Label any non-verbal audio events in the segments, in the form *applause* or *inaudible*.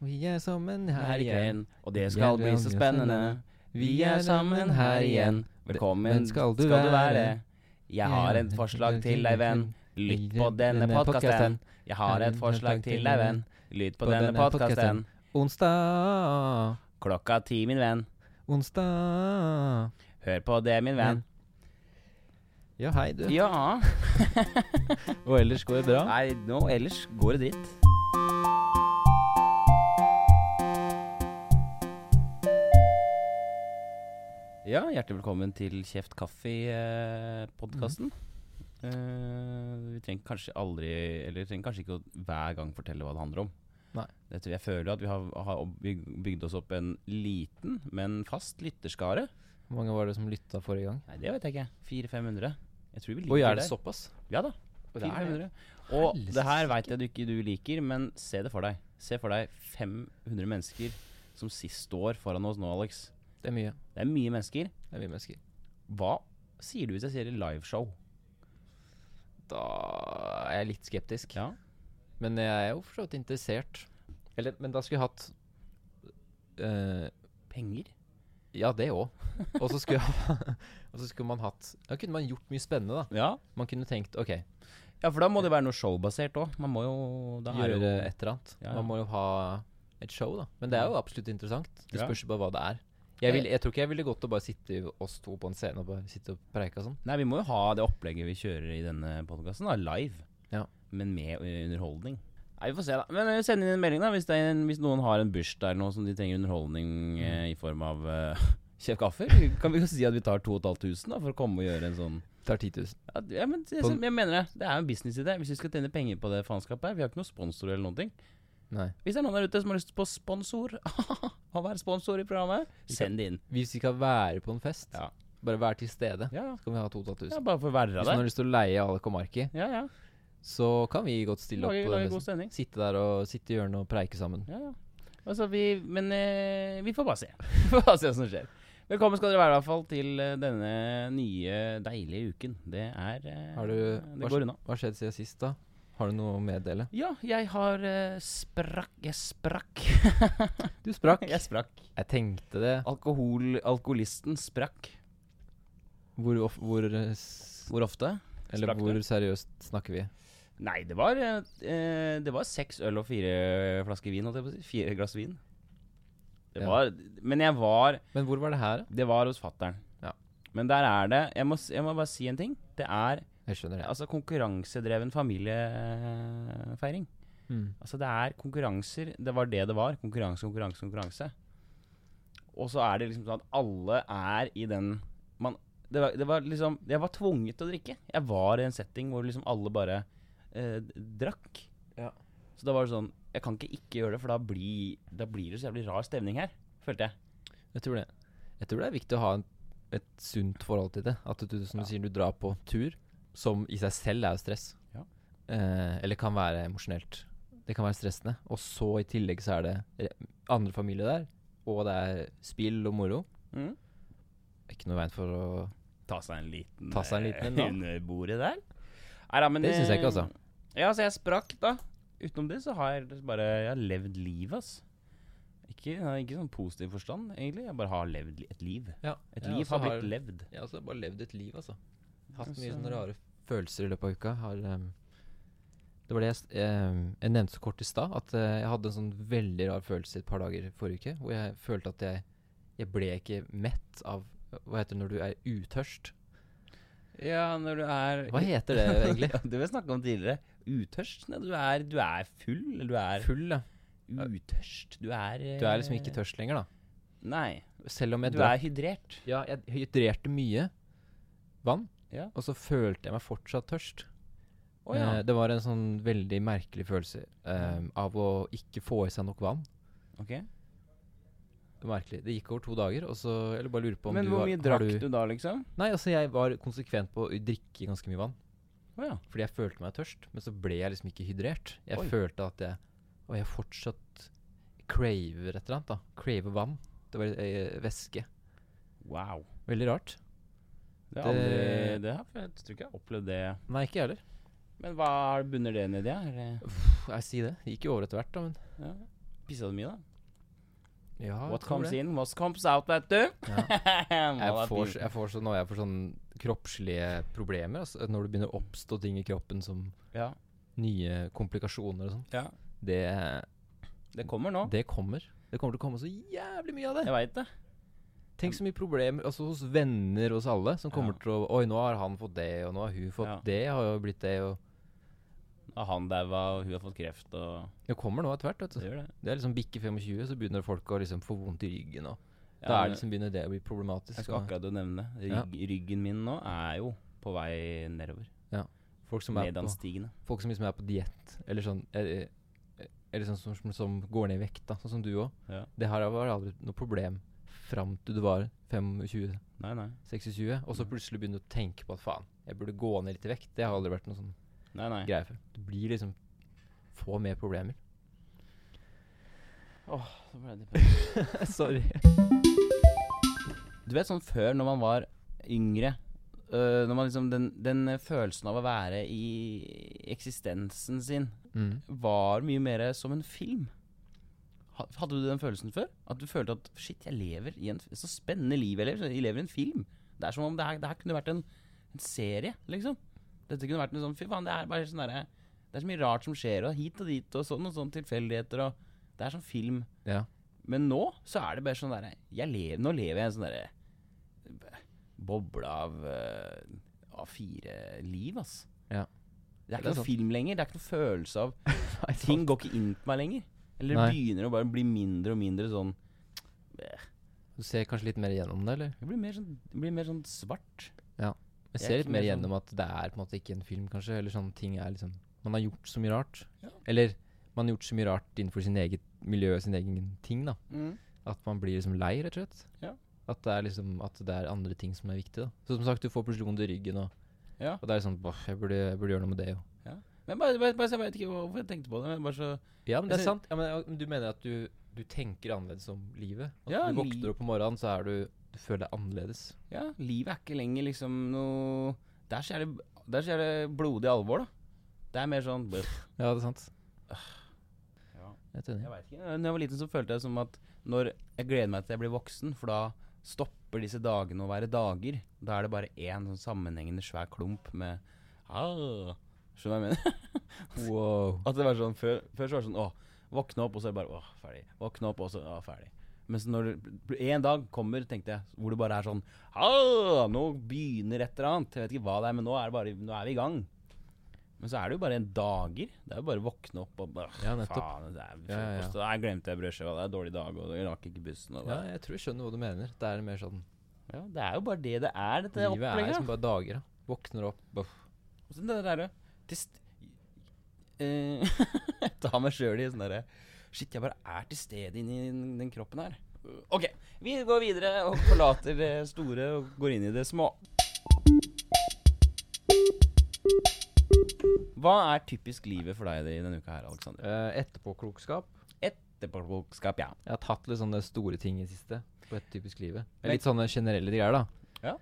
Vi er sammen her igjen, og det skal bli så spennende. Vi er sammen her igjen. Velkommen Men skal du være. Jeg har et forslag til deg, venn. Lytt på denne podkasten. Jeg har et forslag til deg, venn. Lytt på denne podkasten. Onsdag, Klokka ti, min venn. onsdag. Hør på det, min venn. Ja, hei, du. Ja. *laughs* Og ellers går det bra? Nei, nå ellers går det dritt. Ja, hjertelig velkommen til Kjeft kaffe-podkasten. Eh, vi trenger kanskje aldri Eller trenger kanskje ikke å hver gang fortelle hva det handler om. Nei. Dette, jeg føler at vi har, har opp- vi bygd oss opp en liten, men fast lytterskare. Hvor mange var det som lytta forrige gang? Nei, det vet jeg ikke. 400-500. Jeg tror vi ligger Oi, er det der. såpass? Ja da. Og det er 400. Og Helsike. det her veit jeg du ikke du liker, men se det for deg. Se for deg 500 mennesker som sist står foran oss nå, Alex. Det er mye. Det er mye mennesker. Det er mye mennesker. Hva sier du hvis jeg sier et liveshow? Da er jeg litt skeptisk. Ja. Men jeg er jo for så vidt interessert. Eller, men da skulle jeg hatt eh, Penger? Ja, det *laughs* òg. Og så skulle, jeg- *laughs* og så skulle man hatt Da kunne man gjort mye spennende, da. Ja. Man kunne tenkt OK, ja, for da må det være noe showbasert òg. Man må jo da er det gjøre jo- et eller annet. Ja, ja. Man må jo ha et show, da. Men det er jo absolutt interessant. Det Ja. spørs jo bare hva det er. Jeg, vil, jeg tror ikke jeg ville gått og bare sitte oss to på en scene og bare sitte og preika sånn. Nei, vi må jo ha det opplegget vi kjører i denne podkasten, da. Live. Ja. Men med ø, underholdning. Nei, vi får se, da. Men ø, send inn en melding, da, hvis, det er en, hvis noen har en bursdag eller noe som de trenger underholdning ø, i form av *laughs* uh, kjeft kaffe. Kan vi jo si at vi tar 2500 da, for å komme og gjøre en sånn Tar 10 000. ja, d- ja, men jeg, På- jeg mener det. Det er jo en businessidé. Hvis vi skal tjene penger på det faenskapet her Vi har ikke noen sponsorer eller noen ting. Nei. Hvis det er noen der ute som har lyst på sponsor, *laughs* å være sponsor i programmet, send det inn. Hvis vi skal være på en fest, Ja. bare være til stede, Ja, så kan vi ha 2500. ja bare for å være Hvis man der. har lyst til å leie Alec og Marki, Ja, ja. så kan vi godt stille opp. Lage, på den lage festen. god stemning. Sitte der og sitte i hjørnet og preike sammen. Ja, ja. Altså, vi, men eh, vi får bare se. *laughs* Vi får bare se hva som skjer. Velkommen skal dere være i hvert fall til eh, denne nye, deilige uken. Det er eh, Har du- Det går unna. Hva skjedde siden sist, da? Har du noe å meddele? Ja, jeg har eh, sprakk Jeg sprakk. Du sprakk. *laughs* jeg sprakk. Jeg tenkte det. Alkohol, alkoholisten sprakk. Hvor, of, hvor, eh, s- Hvor ofte? eller sprakk hvor seriøst snakker vi? Nei, det var eh, eh, Det var seks øl og fire flasker vin, holdt jeg på å si. Fire glass vin. Det Ja. var Men jeg var Men hvor var det her, da? Det var hos fattern. Ja. Men der er det jeg må, s- jeg må bare si en ting. Det er Jeg skjønner det. altså konkurransedreven familiefeiring. Mm. Altså det er konkurranser. Det var det det var. Konkurranse, konkurranse, konkurranse. Og så er det liksom sånn at alle er i den man, det, var, det var liksom Jeg var tvunget til å drikke. Jeg var i en setting hvor liksom alle bare eh, drakk. Ja. Så da var det sånn Jeg kan ikke ikke gjøre det, for da blir, da blir det så jævlig rar stemning her, følte jeg. Jeg tror det. Jeg tror det er viktig å ha en, et sunt forhold til det. At du, som Ja. du sier, du drar på tur, som i seg selv er jo stress. Ja. Eh, eller kan være emosjonelt. Det kan være stressende. Og så i tillegg så er det re- andre familie der, og det er spill og moro. Mm. Ikke noe veien for å Ta seg en liten Ta seg en liten en, da. eh, under bordet der. Nei da, men Det syns jeg ikke, eh, altså. Ja, så jeg sprakk, da. Utenom det så har jeg liksom bare Jeg har levd livet, ass. Ikke, nei, ikke sånn positiv forstand, egentlig. Jeg bare har levd li- et liv. Ja, Et jeg liv også har blitt levd. Jeg har også bare levd et liv, altså. Hatt mye Altså- sånne rare følelser i løpet av uka. Har, ehm, det var det jeg, s- ehm, jeg nevnte så kort i stad, at eh, jeg hadde en sånn veldig rar følelse et par dager forrige uke, hvor jeg følte at jeg, jeg ble ikke mett av Hva heter det når du er utørst? Ja, når du *laughs* er Hva heter det egentlig? Ja, det vil jeg snakke om tidligere. Utørst. Nei, du, er, du er full. eller Du er Full, ja. utørst. Du er Du er liksom ikke tørst. tørst lenger, da. Nei. Selv om jeg Du drakk er hydrert. Ja, jeg hydrerte mye vann, Ja. og så følte jeg meg fortsatt tørst. Å ja. Eh, det var en sånn veldig merkelig følelse ehm, av å ikke få i seg nok vann. Ok. Det var Merkelig. Det gikk over to dager, og så Jeg bare lurer på om Men du hvor var- mye har drakk du da, liksom? Nei, altså jeg var konsekvent på å drikke ganske mye vann. Å ja. Fordi jeg følte meg tørst, men så ble jeg liksom ikke hydrert. Jeg Oi. følte at jeg Og jeg fortsatt craver et eller annet, da. Craver vann. Det var eh, væske. Wow. Veldig rart. Det, har aldri, Det- det har, jeg tror ikke jeg har opplevd det. Nei, ikke jeg heller. Men hva bunner det nedi her? Puh, Jeg sier det. Det gikk jo over etter hvert, da, men Ja. pissa du mye, da? Ja, jeg What tror comes det. in, what comes out, vet *laughs* du. Ja. Jeg jeg får, så- jeg får så, nå er jeg får sånn kroppslige problemer. Altså, når det begynner å oppstå ting i kroppen som ja. nye komplikasjoner og sånn. ja. Det, Det kommer nå. det kommer. Det kommer til å komme så jævlig mye av det. Jeg veit det. Tenk så mye problemer altså hos venner hos alle som kommer Ja. til å Oi, nå har han fått det, og nå har hun fått Ja. det, har jo blitt det, og Og han daua, og hun har fått kreft, og Det kommer nå etter hvert. vet det du. gjør det. Det er liksom bikke 25, så begynner folk å liksom få vondt i ryggen. Og da Ja, er det liksom begynner det å bli problematisk. Jeg skal og akkurat nevne det. Ja. Rygg, Ryggen min nå er jo på vei nedover. folk, som er på, Nedanstigende. folk som liksom er på diett, eller sånn eh, eh, Eller sånn som, som, som går ned i vekt, da, sånn som du òg. Ja. Det her var aldri noe problem fram til du var 25-26, Nei, nei. og Mm. så plutselig begynner du å tenke på at faen, jeg burde gå ned litt i vekt. Det har aldri vært noe sånn nei, nei. greie før. Du blir liksom Får mer *laughs* problemer. Så ble det depressivt. Sorry. Du vet sånn før, når man var yngre øh, Når man liksom den, den eh, følelsen av å være i eksistensen sin Mm. *laughs* var mye mer som en film. Ha- Hadde du den følelsen før? At du følte at shit, jeg lever i en f- Så spennende liv jeg lever. så Jeg lever i en film. Det er som om det her, det her kunne vært en, en serie, liksom. Dette kunne vært en sånn Fy faen, det er bare sånn derre Det er så mye rart som skjer, og hit og dit, og sånn og sånn tilfeldigheter, og Det er sånn film. Ja. Men nå så er det bare sånn derre jeg lever- Nå lever jeg i en sånn derre eh, boble av eh, A4-liv, ass. Ja. Det er Det er ikke noen sant. film lenger. Det er ikke noen følelse av Nei, Ting går ikke inn på meg lenger. Eller Nei. begynner å bare bli mindre og mindre sånn Du ser kanskje litt mer gjennom det, eller? Det blir mer sånn, det blir mer sånn svart. Jeg Jeg er ser ikke litt mer mer sånn- gjennom at det er på en måte ikke en film, kanskje. Eller sånne ting er liksom Man har gjort så mye rart. Ja. Eller man har gjort så mye rart innenfor sin eget miljø og sin egen ting, da. At man blir liksom lei, rett og slett. Ja. At det er liksom At det er andre ting som er viktig, da. Så som sagt, du får plutselig vondt i ryggen, og, Ja. og det er sånn Boff, jeg, burde- jeg burde gjøre noe med det, jo. Men bare, bare, bare, så jeg vet ikke hvorfor jeg tenkte på det. Men bare så Ja, men Jeg det er ser- sant. Ja, men, ja, men du mener at du, du tenker annerledes om livet? At Ja, du li- våkner opp om morgenen, så er du Du føler deg annerledes. Ja, livet er ikke lenger liksom noe Det er så jævlig, det er så jævlig blodig alvor, da. Det er mer sånn bøff. Ja, det er sant. Ja. Jeg er enig. Jeg vet ikke. Når jeg var liten, så følte jeg som at når jeg gleder meg til jeg blir voksen, for da stopper disse dagene å være dager. Da er det bare én sånn sammenhengende svær klump med ah, Skjønner du hva jeg mener? *laughs* Wow. At det var sånn, før, før så var det sånn Åh, våkne opp, og så er det bare Åh, ferdig Våkne opp, og så Åh, ferdig Mens når det- en dag kommer, tenkte jeg Hvor det bare er sånn Åh, nå begynner et eller annet Jeg vet ikke hva det er, men nå er, det bare, nå er vi i gang Men så er det jo bare en dager Det er jo bare å våkne opp og bare «Åh, Ja, nettopp. Faen, det er Ja, ja, ja. frokost og Der glemte jeg brødskiva, det er en dårlig dag Og jeg rakk ikke bussen og Ja, det. jeg tror jeg skjønner hva du mener. Det er mer sånn Ja, det er jo bare det det er, dette Livet er opplegget da. liksom bare dager. da. Våkner opp boff. Og så det derre til st- Eh, *laughs* Jeg tar meg sjøl i sånn derre Shit, jeg bare er til stede inni den, den kroppen her. OK, vi går videre og forlater det store og går inn i det små. Hva er typisk livet for deg i denne uka her, Aleksander? Eh, Etterpåklokskap. Etterpåklokskap, ja. Jeg har tatt litt sånne store ting i det siste. På et typisk livet. Det er Litt sånne generelle greier, da. Ja.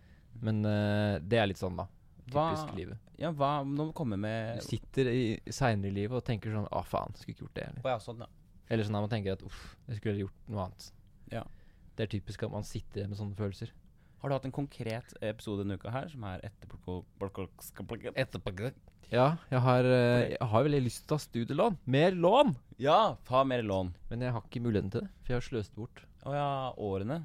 Men eh, det er litt sånn, da. Hva- Typisk livet. Ja, hva Nå kommer jeg Du med sitter i- seinere i livet og tenker sånn Å, faen, skulle ikke gjort det. Eller, Å ja, sånn, ja. eller sånn at man tenker at uff, jeg skulle heller gjort noe annet. Ja. Det er typisk at man sitter med sånne følelser. Har du hatt en konkret episode denne uka her som er etterpåklokskap? Etterpå Ja, jeg har, eh, jeg har veldig lyst til å ta studielån. Mer lån! Ja, ta mer lån. Men jeg har ikke muligheten til det, for jeg har sløst bort Å ja, årene.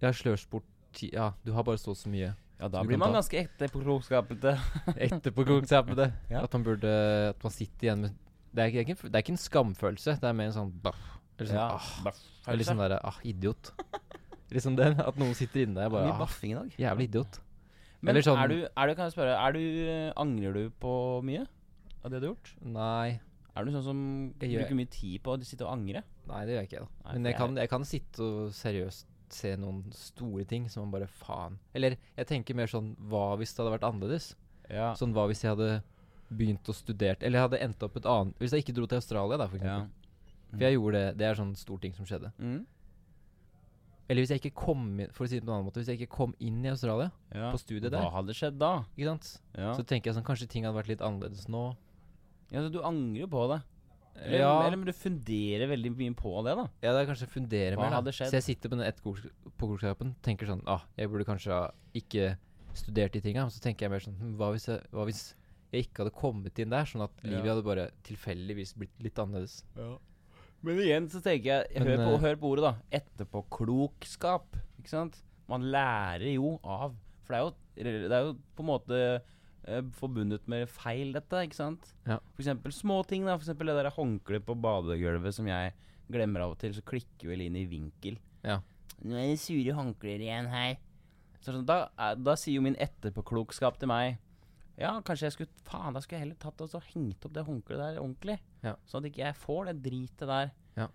Jeg har sløst bort ti Ja, du har bare så og så mye. Ja, Så da du blir kan man ta- ganske etterpåklokskapete. *laughs* Etterpå konseptet. Ja. At man burde At man sitter igjen med Det er ikke, det er ikke, en, det er ikke en skamfølelse, det er mer en sånn baff. Eller sånn, Ja. ah, Baff. eller sånn derre ah, idiot. *laughs* liksom den. At noen sitter inne der og Mye bare ah, baffing i dag. Jævlig idiot. Men Eller sånn- er, du, er du, kan jeg spørre, er du, eh, angrer du på mye av det du har gjort? Nei. Er du sånn som Jeg gjør- bruker mye tid på å sitte og angre? Nei, det gjør jeg ikke. da Men Nei, for jeg jeg- kan, jeg kan sitte og seriøst se noen store ting som man bare faen Eller jeg tenker mer sånn Hva hvis det hadde vært annerledes? Ja. Sånn hva hvis jeg hadde begynt å studert Eller jeg hadde endt opp et annet Hvis jeg ikke dro til Australia, da, for ja. eksempel. For jeg gjorde det. Det er sånn stor ting som skjedde. Mm. Eller hvis jeg ikke kom inn For å si det på en annen måte Hvis jeg ikke kom inn i Australia ja. på studiet der, Hva hadde skjedd da? ikke sant? Ja. så tenker jeg sånn Kanskje ting hadde vært litt annerledes nå. ja, så du angrer på det. Eller, Ja. eller men du funderer veldig mye på det, da. Ja, det er kanskje å fundere Hva mer. da. hadde skjedd? Så jeg sitter på den etterpåklokskapen tenker sånn ah, Jeg burde kanskje ha ikke studert de tinga. Og så tenker jeg mer sånn hm, hva hvis jeg, hva hvis jeg ikke hadde kommet inn der? Sånn at livet Ja. hadde bare tilfeldigvis blitt litt annerledes. Men igjen så tenker jeg Hør Men, på, eh, hør på ordet, da. Etterpåklokskap. Ikke sant? Man lærer jo av For det er jo, det er jo på en måte eh, forbundet med feil, dette. ikke sant? Ja. For eksempel småting. da, for eksempel Det der håndkleet på badegulvet som jeg glemmer av og til, så klikker vel inn i vinkel. Ja. Nå er det sure håndklær igjen her. Så sånn, da, er- da sier jo min etterpåklokskap til meg Ja, kanskje jeg skulle Faen, da skulle jeg heller tatt og så hengt opp det håndkleet der ordentlig. Ja. Sånn at ikke jeg får det dritet der. Ja.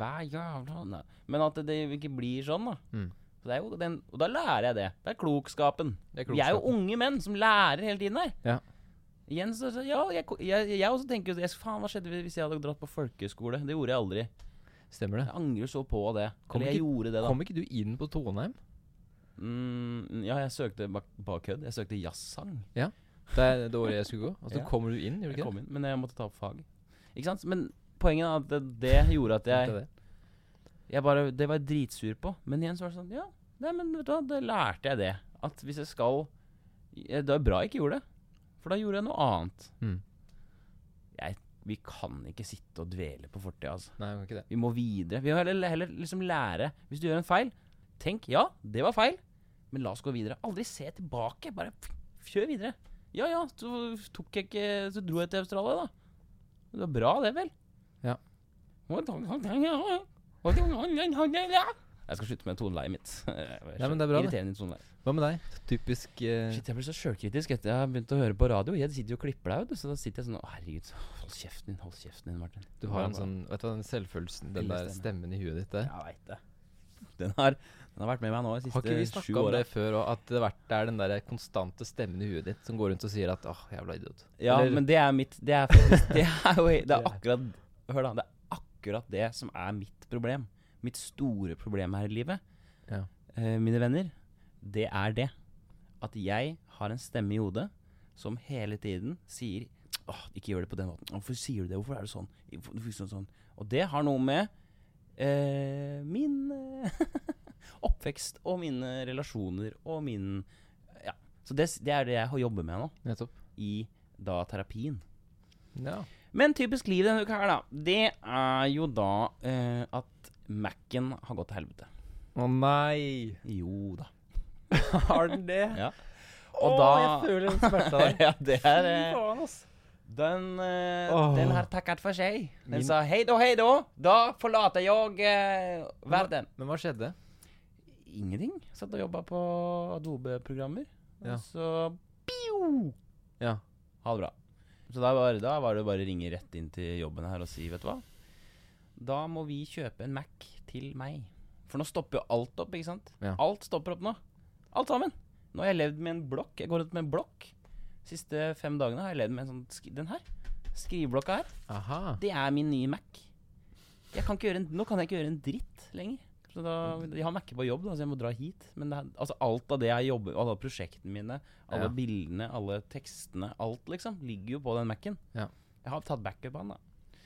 Hver jævla Nei. Men at det ikke blir sånn, da. Mm. Så det er jo den, og da lærer jeg det. Det er klokskapen. Det er Vi er jo klokskapen. unge menn som lærer hele tiden her. Ja. Igjen så, så ja, jeg, jeg, jeg også tenker jo, jeg, Faen, hva skjedde hvis jeg hadde dratt på folkeskole? Det gjorde jeg aldri. Stemmer det? Jeg angrer så på det. Kom Eller jeg ikke- gjorde det, da. Kom ikke du inn på Toneheim? Mm, ja, jeg søkte bak, bak kødd. Jeg søkte jazzsang. Det er det året jeg *laughs* skulle gå. Og så Ja. kommer du inn, gjør du Jeg ikke det? kom inn, men jeg måtte ta opp fag. Ikke sant? Men poenget er at det, det gjorde at jeg Tenkte det. Jeg bare, Det var jeg dritsur på. Men igjen så var det sånn Ja, nei, men vet du hva, da lærte jeg det. At hvis jeg skal eh, Det er bra jeg ikke gjorde det. For da gjorde jeg noe annet. Mm. Jeg, vi kan ikke sitte og dvele på fortida, altså. Nei, det var ikke det. Vi må videre. Vi må heller, heller liksom lære. Hvis du gjør en feil, tenk ja, det var feil, men la oss gå videre. Aldri se tilbake. Bare f- kjør videre. Ja ja, så tok jeg ikke Så dro jeg til Australia, da. Det var bra, det, vel? Ja. Jeg Jeg skal slutte med toneleiet mitt. *laughs* Nei, men det er bra, det. Irriterende toneleie. Hva med deg? Typisk eh, Shit, jeg blir så sjølkritisk etter jeg har begynt å høre på radio. Jeg sitter jo og klipper deg, vet du, så da sitter jeg sånn Å, herregud, hold kjeften din, hold kjeften din, Martin. Du har en Hvordan- sånn Vet du hva, den selvfølelsen, den Veldig der stemmen i huet ditt der. Jeg veit det. Den har, den har vært med meg nå de Har ikke vi siste sju snakka om åra. det før òg, at det, har vært, det er den der konstante stemmen i huet ditt som går rundt og sier at åh, jævla idiot. Ja, Eller- men det er mitt Det er, faktisk, det er jo Det *laughs* Det er er- akkurat Hør, da. Det er akkurat det som er mitt problem. Mitt store problem her i livet, Ja. eh, mine venner, det er det. At jeg har en stemme i hodet som hele tiden sier Åh, ikke gjør det på den måten. Hvorfor sier du det? Hvorfor er det sånn? Hvorfor- hvorfor sånn, sånn? Og det har noe med eh, min *laughs* eh, oppvekst og mine relasjoner og min Ja. Så det, s- det er det jeg har jobber med nå Nettopp. i da terapien. Ja. Men typisk liv denne uka her, da. Det er jo da eh, at Mac-en har gått til helvete. Å *laughs* nei! Jo da. Har den det? Ja. Og Og da da- føler den smerta *laughs* *laughs* ja, det er eh, faen, ass. den, eh, Åh. den har takket for seg. Den Min- sa hei da, hei da. Da forlater jeg eh, verden. Men hva skjedde? Ingenting. Satt og jobba på Adobe-programmer. Ja. Og så Piu! Ja. Ha det bra. Så da var, da var det bare å ringe rett inn til jobben her og si, vet du hva Da må vi kjøpe en Mac til meg. For nå stopper jo alt opp, ikke sant? Ja. Alt stopper opp nå. Alt sammen. Nå har jeg levd med en blokk. Jeg går rundt med en blokk. Siste fem dagene har jeg levd med en sånn skri Den her. Skriveblokka her. Aha. Det er min nye Mac. Jeg kan ikke gjøre en, nå kan jeg ikke gjøre en dritt lenger. Så da, jeg har Mac på jobb, da, så jeg må dra hit. Men det er, altså alt av det jeg jobber Alle prosjektene mine, alle Ja. bildene, alle tekstene, alt liksom, ligger jo på den Mac-en. Ja. Jeg har tatt backup av den, da.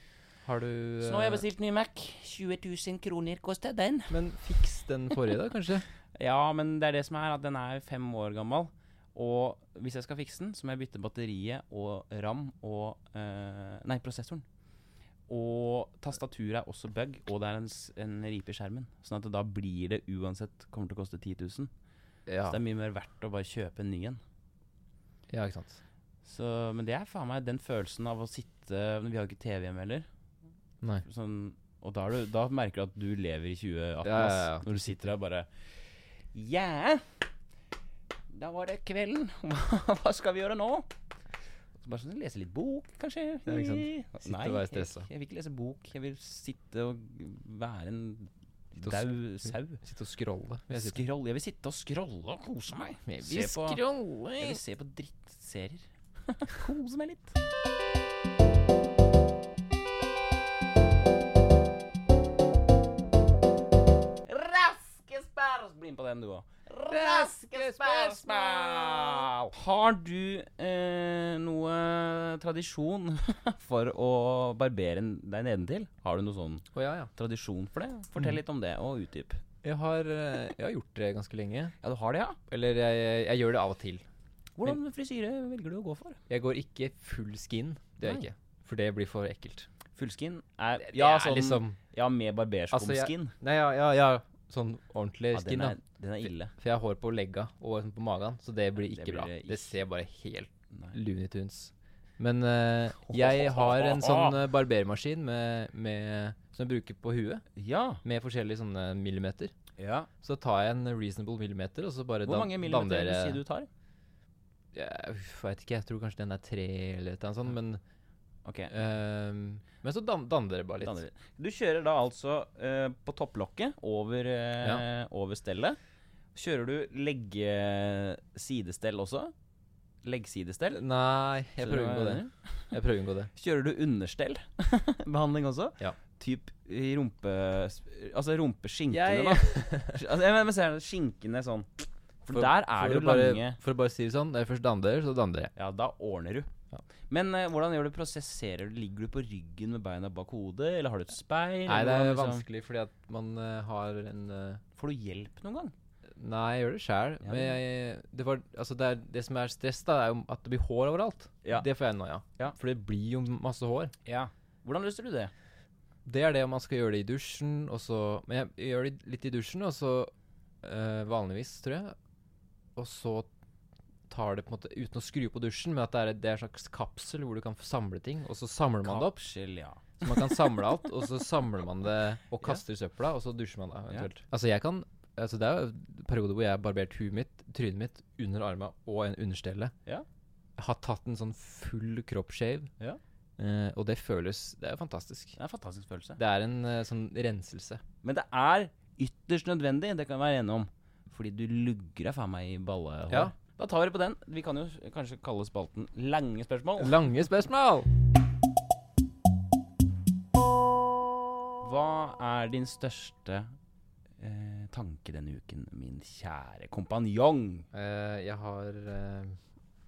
Har du Så nå har jeg eh, bestilt ny Mac. 20 000 kroner koster den. Men fiks den forrige, da, *laughs* kanskje? Ja, men det er det som er, at den er fem år gammel. Og hvis jeg skal fikse den, så må jeg bytte batteriet og ram og eh, Nei, prosessoren. Og tastaturet er også bug, og det er en, s- en ripe i skjermen. Sånn at da blir det uansett kommer til å koste 10 000. Ja. Så det er mye mer verdt å bare kjøpe en ny en. ja, ikke sant. Så, men det er faen meg den følelsen av å sitte Vi har jo ikke TV hjemme heller. Nei. Sånn, og da, er du, da merker du at du lever i 2018 Ja, ja, ass, ja. Når du sitter der bare Ja, da var det kvelden *laughs* Hva hva skal vi gjøre nå? Så bare sånn, lese litt bok kanskje Ja, ikke sant. Nei, Sitte og være jeg, stressa. jeg vil ikke lese bok Jeg vil sitte og være en Sitte og dau sau Sitte og scrolle. vil jeg si. Skroll, jeg vil sitte og scrolle og kose meg Jeg Se vil på- scrolle. jeg vil se på drittserier. *laughs* Kose meg litt. Raske spørsmål! Bli med på den, du òg. Raske spørsmål! Har du eh, noe tradisjon *laughs* for å barbere en- deg nedentil? Har du noe sånn Å ja, ja. tradisjon for det? Fortell litt om det, og utdyp. Jeg har, eh, jeg har gjort det ganske lenge. Ja, du har det, ja? Eller jeg, jeg gjør det av og til. Hvordan frisyre velger du å gå for? Jeg går ikke full skin. Det gjør jeg ikke. For det blir for ekkelt. Fullskin er Det Ja, er sånn, liksom ja med barberskumskin. Altså, jeg- Nei, ja, ja, ja. Sånn ordentlig ja, den, skin, da. er, den er ille. For jeg har hår på legga og sånn på magen, så det blir det ikke blir bra. det ikke. Det ser bare helt Nei. Looney Tunes. Men *laughs* eh, jeg har en sånn eh, barbermaskin med, med, som jeg bruker på huet, Ja. med forskjellige sånne millimeter. ja. Så tar jeg en reasonable millimeter, og så bare Hvor dan- mange millimeter vil du danner- si du tar? Jeg vet ikke, jeg tror kanskje den er tre eller et eller annet sånt, men, Ok, ehm, men så dan- danner dere bare litt. danner det. Du kjører da altså eh, på topplokket over, eh, over stellet. Kjører du leggesidestell også? Leggsidestell? Nei, jeg Skjønner prøver å du hva unngå det. jeg mener? Jeg prøver å unngå det. Kjører du understell? *laughs* Behandling også? Ja. Typ i rumpe... Altså rumpeskinkene, Jeg- *laughs* da. altså, jeg mener, ser du, skinkene sånn. For, der er det jo å bare, lange For å bare si det sånn, når jeg først danner dere, så danner dere. Ja, da ordner du. Ja. Men eh, hvordan gjør du prosesserer du? Ligger du på ryggen med beina bak hodet, eller har du et speil? Nei, eller det er hvordan liksom- vanskelig fordi at man eh, har en eh, Får du hjelp noen gang? Nei, jeg gjør det sjæl. Ja, Men jeg, det, var, altså det, er, det som er stress, da, er jo at det blir hår overalt. Ja. Det får jeg noia av. Ja. For det blir jo masse hår. Ja. Hvordan løser du det? Det er det om man skal gjøre det i dusjen, og så Men jeg gjør det litt i dusjen, og så eh, vanligvis, tror jeg. Og så tar det på en måte Uten å skru på dusjen, men at det er, det er en slags kapsel hvor du kan samle ting. Og så samler man det opp. Kapsel, ja. Så man kan samle alt, og så samler man *laughs* det og Ja. kaster i søpla, og så dusjer man da eventuelt. Altså, jeg kan Altså, det er jo perioder hvor jeg har barbert huet mitt, trynet mitt, under arma og en understelle. Ja. Jeg har tatt en sånn full kroppsshave, Ja. eh, og det føles Det er jo fantastisk. Det er en fantastisk følelse. Det er en eh, sånn renselse. Men det er ytterst nødvendig, det kan vi være enige om. Fordi du lugger deg faen meg i ballehår. Ja. Da tar vi det på den. Vi kan jo s- kanskje kalle spalten Lange spørsmål. Lange spørsmål! Hva er din største eh, tanke denne uken, min kjære kompanjong? Eh, jeg har eh,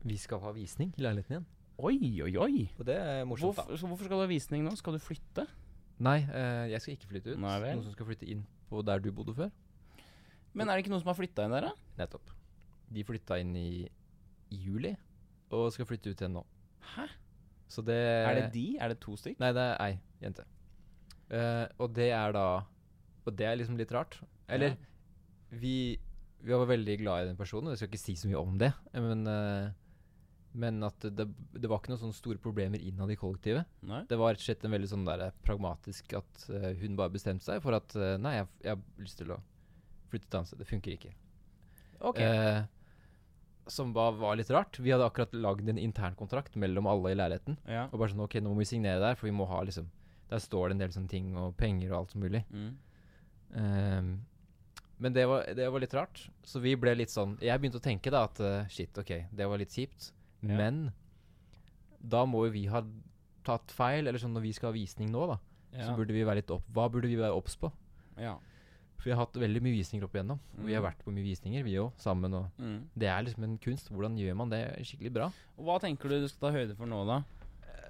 Vi skal ha visning i leiligheten igjen. Oi, oi, oi. Og det er morsomt, Hvorfor, så hvorfor skal du ha visning nå? Skal du flytte? da. Nei, eh, jeg skal ikke flytte ut. Nei vel. Noen som skal flytte inn på der du bodde før. Men er det ikke noen som har flytta inn der, da? Nettopp. De flytta inn i i juli, og skal flytte ut igjen nå. Hæ? Så det Er det de? Er det to stykk? Nei, det er ei jente. Eh, og det er da Og det er liksom litt rart. Eller Ja. vi, vi var veldig glad i den personen, og jeg skal ikke si så mye om det. eh, Men, eh, men at det, det var ikke noen sånne store problemer innad i kollektivet. Nei. Det var rett og slett en veldig sånn der eh, pragmatisk at eh, hun bare bestemte seg for at eh, Nei, jeg, jeg har lyst til å flytte et annet sted. Det funker ikke. Ok. Eh, som var, var litt rart. Vi hadde akkurat lagd en internkontrakt mellom alle i leiligheten. ja. Og bare sånn, ok, nå må vi signere der, for vi må ha liksom Der står det en del sånne ting, og penger og alt som mulig. Mm. Ehm, men det var, det var litt rart, så vi ble litt sånn Jeg begynte å tenke da at eh, shit, ok, det var litt kjipt, Ja. men da må jo vi ha tatt feil, eller sånn når vi skal ha visning nå, da, Ja. så burde vi være litt opp Hva burde vi være obs på? ja. For vi har hatt veldig mye visninger opp igjennom. og Vi har Mhm. vært på mye visninger, vi òg, sammen og Mm. det er liksom en kunst. Hvordan gjør man det skikkelig bra? Og hva tenker du du skal ta høyde for nå, da?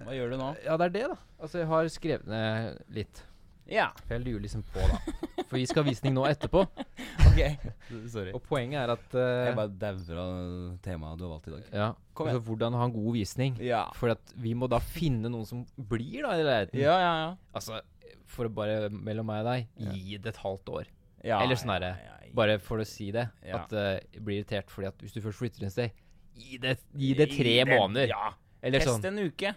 Hva gjør du nå? Ja, det er det, da. Altså, jeg har skrevet ned litt. Ja, For jeg lurer liksom på, da. For vi skal ha visning nå etterpå. *laughs* ok. *laughs* Sorry. Og poenget er at eh, Jeg bare dauer av temaet du har valgt i dag. Ja, Kom altså hvordan ha en god visning. Ja. For at vi må da finne noen som blir, da, i leiligheten. Ja, ja, ja. Altså, for å bare mellom meg og deg, gi det et halvt år. ja Eller sånn herre, ja, ja, ja. Bare for å si det. Ja. At eh, jeg blir irritert fordi at hvis du først flytter et sted, gi det, gi det tre måneder. Ja. Eller Test sånn. en uke.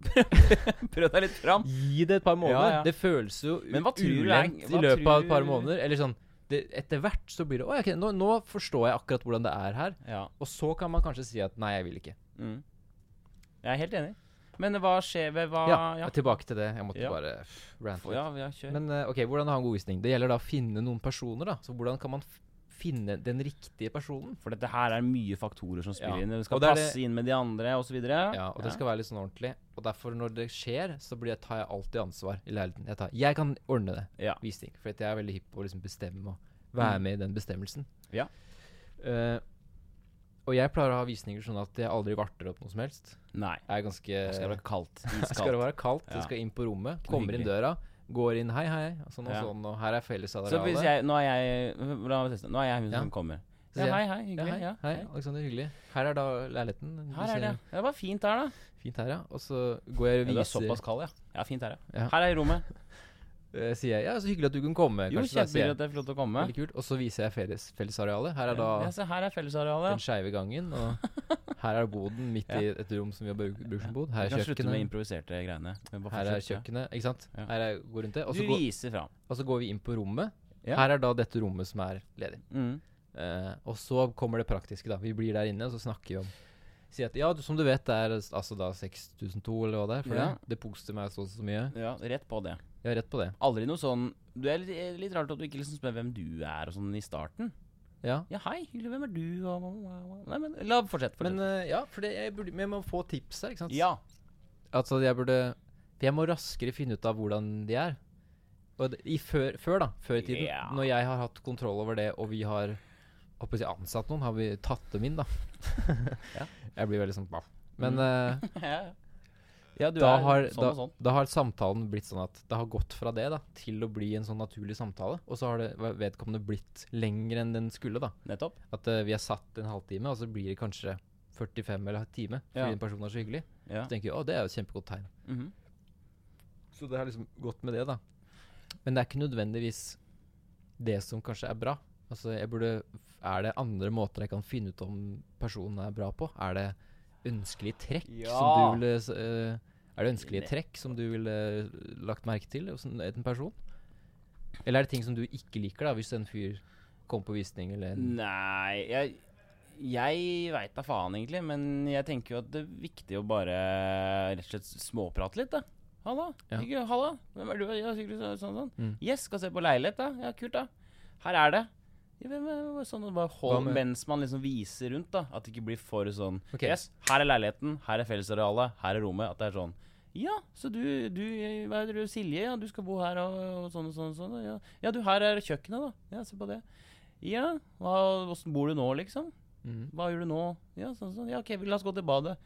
*laughs* Prøv deg litt fram. Gi det et par måneder. Ja, ja. Det føles jo Men hva tror du er- ulendt i hva løpet av et par tror- måneder. Eller sånn det, Etter hvert så blir det Å, ja, ok, nå, nå forstår jeg akkurat hvordan det er her. Ja. Og så kan man kanskje si at nei, jeg vil ikke. Mm. Jeg er helt enig. Men hva skjer ved hva Ja, Tilbake til det. Jeg måtte Ah, Ja. bare pff, rante ja litt. vi har kjørt. Men eh, ok, hvordan ha en god visning? Det gjelder da å finne noen personer, da. Så hvordan kan man f finne den riktige personen? For dette her er mye faktorer som spiller Ja. inn. Du skal Og det er passe inn med de andre osv. Ja, og det skal være litt sånn ordentlig. Og derfor, når det skjer, så blir jeg, tar jeg alltid ansvar i leiligheten. Jeg, tar, jeg kan ordne det. Ja. Mm. Visning. For at jeg er veldig hypp på å liksom bestemme og være med i den bestemmelsen. Ja. Eh, og Og jeg pleier å ha visninger sånn at jeg aldri varter opp noe som helst. Nei. Jeg er ganske Det skal være kaldt. *laughs* Det skal Iskaldt. være kaldt, Ja. det skal inn på rommet. Ikke noe Kommer inn døra, går inn hei, hei, og sånn og Ja. sånn, og her er Så hvis fellesarealet. jeg Nå er jeg La meg teste. Nå er jeg hun Ja. som kommer. Så Ja, sier hei, jeg, hei. Ja, Hyggelig. hei, Ja, hei, Alexander, hyggelig. Her er da leiligheten. Du Her er det. ser Det var fint der, da. Fint her, ja. Og så går jeg Ja, og du er viser såpass kald, ja. Ja, fint her, ja. Ja. Her er rommet. eh, Sier jeg ja, så hyggelig at du kunne komme. Jo, kanskje, da, sier kjempehyggelig jeg. at det er flott å komme. Veldig kult. Og så viser jeg felles, fellesarealet. Her er da Ja, se, her er den fellesarealet. skeive gangen, *laughs* og her er boden midt i et rom som vi har bru- brukt som bod. Vi Her kan er slutte kjøkkenet. med improviserte greiene. men bare Her er fortsett, kjøkkenet, ikke sant. Ja. Her er, går rundt det. ja. Og Du så går, viser fram. og så går vi inn på rommet. Ja. Her er da dette rommet som er ledig. Mm. Eh, og så kommer det praktiske, da. Vi blir der inne, og så snakker vi om Si at ja, du, som du vet, det er s- altså da 6002 eller hva det er. For Ja. det, det poster meg så og så mye. Ja, rett på det. Jeg har rett på det. Aldri noe sånn Du er litt, eh, litt rart at du ikke liksom spør hvem du er og sånn i starten. Ja. Ja, hei, hyggelig, hvem er du? Og, og, og, og. Nei, men la fortsett. fortsett. Men eh, ja, for det, jeg, burde, men jeg må få tips her, ikke sant. ja. Altså, jeg burde For jeg må raskere finne ut av hvordan de er. Og det, i før, før, da. Før i tiden. Ja. Når jeg har hatt kontroll over det, og vi har håper jeg, å si ansatt noen, har vi tatt dem *laughs* inn, da. Ja. Jeg blir veldig sånn bah. Men eh, *laughs* ja, du da er har, sånn da, og sånn. da har samtalen blitt sånn at det har gått fra det da, til å bli en sånn naturlig samtale. Og så har det ve- vedkommende blitt lenger enn den skulle. da. Nettopp. At eh, vi har satt en halvtime, og så blir det kanskje 45 eller en time. Fordi Ja. den personen er så hyggelig. Ja. Så tenker vi å, det er jo et kjempegodt tegn. Mhm. Så det har liksom gått med det, da. Men det er ikke nødvendigvis det som kanskje er bra. Altså, jeg burde, Er det andre måter jeg kan finne ut om personen er bra på? Er det ønskelige trekk Ja. som du ville s- eh, Er det ønskelige Ne- trekk som du ville eh, lagt merke til hos en en person? Eller er det ting som du ikke liker, da, hvis en fyr kommer på visning eller Mm. en Nei, jeg, jeg veit da faen egentlig, men jeg tenker jo at det er viktig å bare rett og slett småprate litt, da. Halla, Ja. hyggelig, halla, hvem er du? Ja, hyggelig, så- sånn, sånn. Mm. Yes, skal se på leilighet, da. Ja, kult, da. Her er det. Ja, hvem er- Sånn, og bare Hva hold, med- mens man liksom viser rundt, da. At det ikke blir for sånn Ok. Yes, her er leiligheten, her er fellesarealet, her er rommet. At det er sånn ja, så du, du hva heter du, Silje, ja, du skal bo her og, og sånn og sånn. Og sånn og ja. ja, du, her er kjøkkenet, da. Ja, se på det. Ja, hva, hvordan bor du nå, liksom? Mhm. Hva gjør du nå? Ja, sånn, sånn. Ja, ok, vi- la oss gå til badet.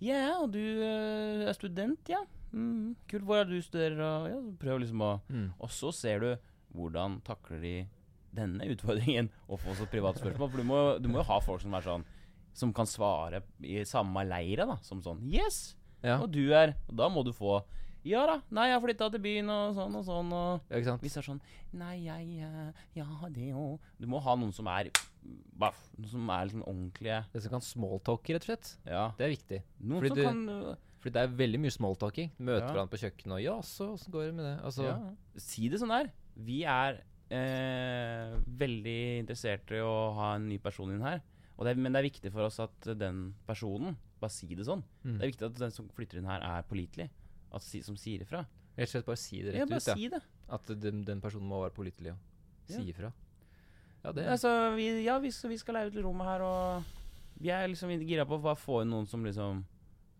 Ja, og du eh, er student, ja. Mm, kult, hvor er det du studerer? Og, ja, så prøv liksom å Mm. Og så ser du hvordan takler de denne utfordringen, *laughs* og få så private spørsmål. For du må, du må jo ha folk som er sånn Som kan svare i samme leire, da. Som sånn Yes! Ja, Og du er Og da må du få Ja da, nei, jeg har flytta til byen, og sånn og sånn, og ja, ikke sant? hvis det er sånn Nei, jeg eh, Ja, det jo Du må ha noen som er baff, Noen som er liksom ordentlige Det som kan smalltalke, rett og slett. Ja. Det er viktig. Noen Fordi som du- kan øh, Fordi det er veldig mye smalltalking. Møter Ja. hverandre på kjøkkenet og 'ja, så åssen går det med det?' Altså, ja, si det sånn der. Vi er eh, veldig interessert i å ha en ny person inn her. Og det er, men det er viktig for oss at den personen Bare si det sånn. Mm. Det er viktig at den som flytter inn her, er pålitelig. At si, som sier ifra. Rett og slett bare si det rett Ja, bare ut. Ja. si det. At den, den personen må være pålitelig og si ifra. Ja, det Altså, vi, ja, vi, skal- vi skal leie ut rommet her, og vi er liksom gira på å bare få inn noen som liksom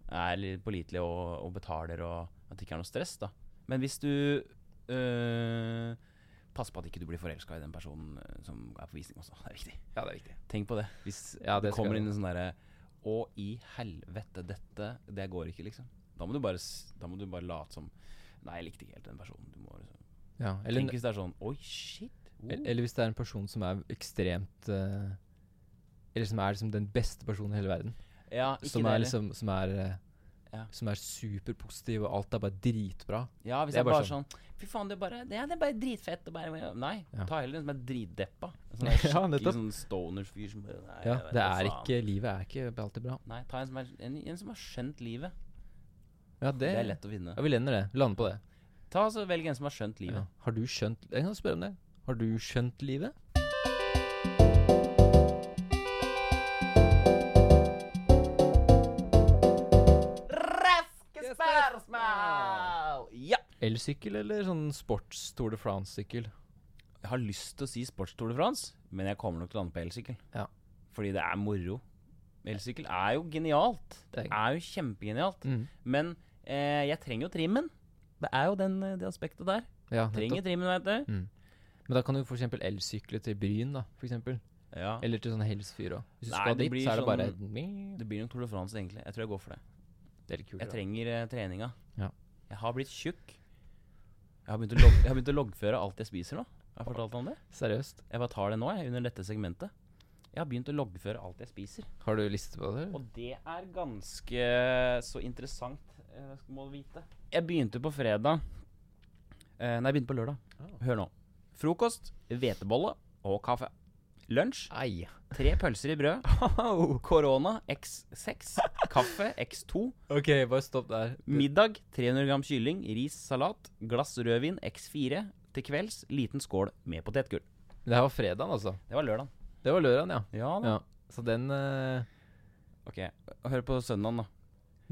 er litt pålitelig og, og betaler, og at det ikke er noe stress, da. Men hvis du øh, Pass på at ikke du blir forelska i den personen øh, som er på visning også. Det er viktig. ja, det er viktig. Tenk på det. Hvis Ja, det det skal kommer jeg inn en sånn derre Å, i helvete, dette Det går ikke, liksom. Da må du bare, s- da må du bare late som Nei, jeg likte ikke helt den personen. Du må liksom. Ja, eller, Tenk hvis det er sånn Oi, shit. Wow. el- eller hvis det er en person som er ekstremt eh, Eller som er liksom den beste personen i hele verden. ja, ikke eh, Som det er, heller. liksom, som er eh, Ja. Som er superpositiv, og alt er bare dritbra. Ja, liksom- Det hvis det er er bare bare sånn Fy faen, det er bare, det er, det er bare dritfett. Og bare, nei, Ja. ta heller den som er dritdeppa. *laughs* En Sånn Ja, skikkelig nettopp. sånn stoner-fyr som bare, nei, Ja, jeg vet det da er faen. ikke Livet er ikke alltid bra. Nei, ta en som, er, en, en som har skjønt livet. Ja, det, Det er lett å vinne. Ja, vi lander det. Vi lander på det. Ta så Velg en som har skjønt Ja. livet. Har du skjønt Jeg kan spørre om det. Har du skjønt livet? Raske spørsmål! Ja! Elsykkel eller sånn sports Tour de France-sykkel? Jeg har lyst til å si sportstol de France, men jeg kommer nok til å lande på elsykkel. Ja. Fordi det er moro. Elsykkel er jo genialt. Det Det er- er jo kjempegenialt. Mm. Men eh, jeg trenger jo trimmen. Det er jo den, eh, det aspektet der. Ja, nettopp. Trenger trimmen, vet du. Men da kan du for eksempel elsykle til Bryn, da, for eksempel. Ja. Eller til sånn helst fyr òg. Hvis du Nei, skal det dit, blir så er det sånn- bare Det blir nok Tour de France, egentlig. Jeg tror jeg går for det. Det er litt kult. Jeg trenger eh, treninga. Ja. Jeg har blitt tjukk. Jeg har begynt å, log jeg har begynt å loggføre alt jeg spiser nå. Har jeg fortalt om det? Seriøst. Jeg bare tar det nå, jeg, under dette segmentet. Jeg har begynt å loggføre alt jeg spiser. Har du liste på det? eller? Og det er ganske så interessant, eh, skal- må du vite. Jeg begynte på fredag. Eh, nei, jeg begynte på lørdag. Ah. Hør nå. Frokost, hvetebolle og kaffe. Lunsj, Ei. tre pølser i brød. Korona X6. Kaffe X2. Ok, bare stopp der. Middag 300 gram kylling, ris, salat. Glass rødvin X4. Til kvelds liten skål med potetgull. Det her var fredagen, altså. Det var lørdag. Det var lørdagen, ja. Ja ja. Så den eh, Ok, Hør på søndagen, da.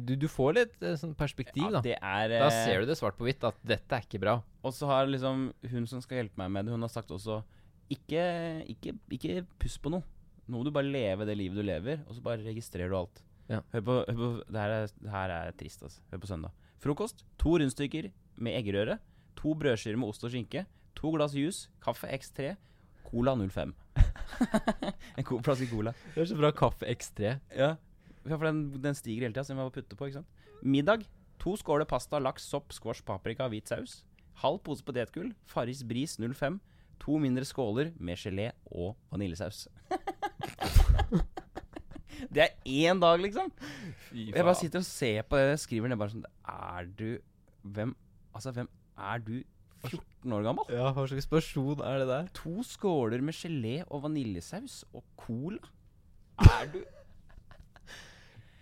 du, du får litt eh, sånn perspektiv, Ja, da. det er eh, Da ser du det svart på hvitt, at dette er ikke bra. Og så har liksom hun som skal hjelpe meg med det, hun har sagt også Ikke, ikke, ikke puss på noe. Nå må du bare leve det livet du lever, og så bare registrerer du alt. Ja. Hør på, hør på det, her er, det her er trist, altså. Hør på søndag. Frokost. To rundstykker med eggerøre. To brødskiver med ost og skinke. To glass juice. Kaffe X3. Cola 05. *laughs* en ko- flaske cola. Det er så bra kaffe X3. Ja, Ja, for den, den stiger hele tida, så jeg må putte på, ikke sant. Middag. To skåler pasta, laks, sopp, squash, paprika, hvit saus. Halv pose potetgull. Farris Bris 05. To mindre skåler med gelé og vaniljesaus. *laughs* det er én dag, liksom. Fy Jeg bare sitter og ser på det, jeg skriver ned bare sånn Er du Hvem Altså, hvem er du 14 år gammel? Ja, hva slags person er det der? To skåler med gelé og vaniljesaus og cola. Er du